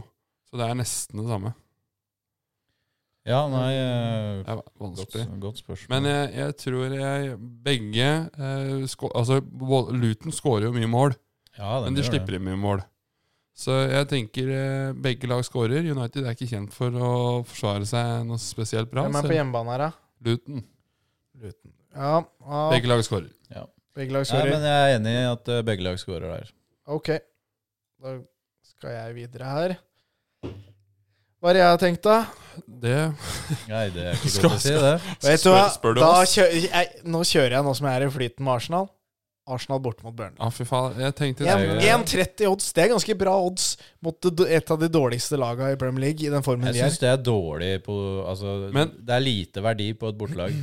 Så det er nesten det samme.
Ja, nei eh,
Det er
godt,
vanskelig.
godt spørsmål.
Men jeg, jeg tror jeg begge eh, sko Altså, Wall- Luton scorer jo mye mål,
ja, den
men de
gjør det.
slipper inn mye mål. Så jeg tenker eh, begge lag scorer. United er ikke kjent for å forsvare seg noe spesielt bra.
Hvem er på
Så
hjemmebane her, da?
Luton.
Ja, ja
Begge lag scorer.
begge lag
Nei,
scorer.
men jeg er enig i at eh, begge lag scorer der.
Ok, da skal jeg videre her. Hva er det jeg har tenkt, da?
Det
Nei, det er ikke
Skal-
godt å si, det.
Vet du
Spør-
hva?
spør du
da
oss?
kjø jeg, nå kjører jeg nå som jeg er i flyten med Arsenal. Arsenal bort mot Burnley.
Ja, fy faen. Jeg tenkte
Ja,
det.
men-
1,30 odds. Det er ganske bra odds mot det- et av de dårligste lagene i Premier League i den formen
Jeg
de er.
syns det er dårlig på Altså,
Men-
det er lite verdi på et bortelag.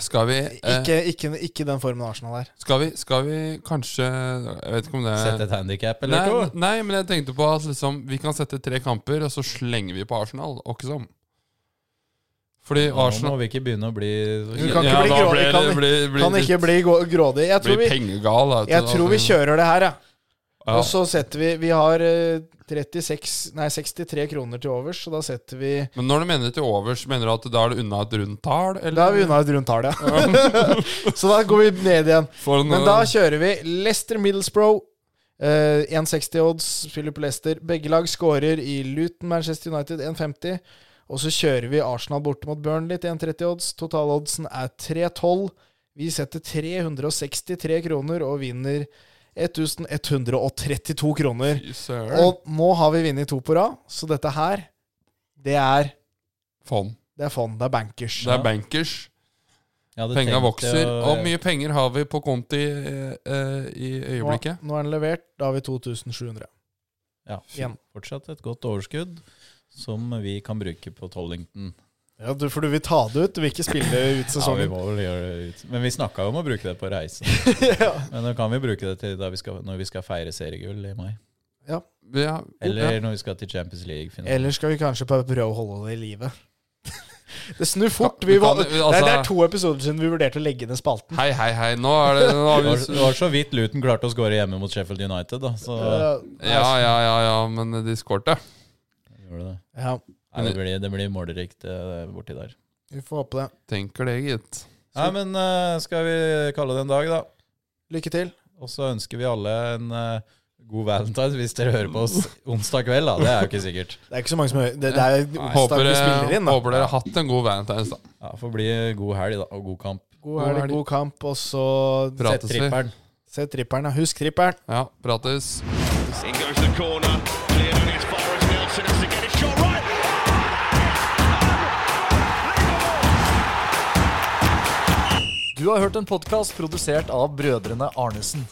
Skal vi, eh,
Ikke, ikke, ikke den formen Arsenal er.
skal vi Skal vi kanskje Jeg vet ikke om det
Sett et handikap eller
Eh, Nei,
to.
nei, men jeg tenkte på at liksom, vi kan sette tre kamper, og så slenger vi på Arsenal. Og ikke sånn. Fordi
Nå
Arsenal
må vi ikke begynne å bli så
Du kan ikke bli
da
grå-
blir
kan-
det- blir- blir
Kan
litt-
ikke bli gå- grådig. Jeg
blir
tror vi,
pengegal. da,
jeg
til-
tror vi kjører det her, ja.
Ja.
Og så setter vi Vi har eh, 36, nei, 63 kroner til overs, så da setter vi
Men når du mener til overs, mener du at da er det unna et rundt tall? Eller?
Da er vi unna et rundt tall, ja. så da går vi ned igjen.
For en- øh,
Men da kjører vi Leicester Middlesbrough. eh, 1,60 odds, Philip Leicester. Begge lag scorer i Luton, Manchester United 1,50. Og så kjører vi Arsenal borte mot Burnley til 1,30 odds. Totaloddsen er 3,12. Vi setter 363 kroner og vinner 1132 kroner.
Fy søren.
Og nå har vi vunnet to på rad, så dette her, det er
Fond.
det er fond, det er bankers.
Det er bankers.
Jeg hadde
Penga
tenkt eh,
vokser.
å-
Hvor mye penger har vi på konti eh, eh, i
Nå,
øyeblikket?
nå er den levert, da har vi 2700.
Ja,
Igjen.
fortsatt et godt overskudd som vi kan bruke på Tollington.
Ja, du, for du vil ta det ut, du vil ikke spille ut
Ja, vi
sesongen.
må vel gjøre det ut. Men vi snakka jo om å bruke det på reise.
Ja.
Men da kan vi bruke det til da vi skal, når vi skal feire seriegull i mai.
Ja.
Eller når vi skal til Champions League-finalen.
Eller skal vi kanskje bare prøve å holde det i live? Det snur fort.
Kan-
Vi
kan-
var, det,
altså-
er, det er to episoder siden vi vurderte å legge ned spalten.
Hei, hei, hei. Nå er det nå har
Det var,
vi,
det var så vidt Luton klarte å skåre hjemme mot Sheffield United, da. Så
Ja,
Ja, ja, ja, ja, men de skårte.
gjorde det.
ja,
Nei, det blir, det blir målerikt eh, borti der.
vi får håpe det.
Tenker det, gitt.
Nei, men eh, skal vi kalle det en dag, da?
Lykke til.
Og så ønsker vi alle en eh, god valentine hvis dere hører på oss onsdag kveld, da. Det er jo ikke sikkert.
Det er ikke så mange som hører Det, det er
Håper
onsdag vi spiller
dere,
inn, da.
håper dere har hatt en god Valentine's, da.
Ja, Får bli god helg, da, og god kamp.
God helg, god kamp, og så
Prates vi.
tripperen.
Se tripperen, da. Husk tripperen.
Ja, prates.
In goes the corner. Cleared on his far as Nelson has to get it shot right.
Du har hørt en podkast produsert av brødrene Arnesen.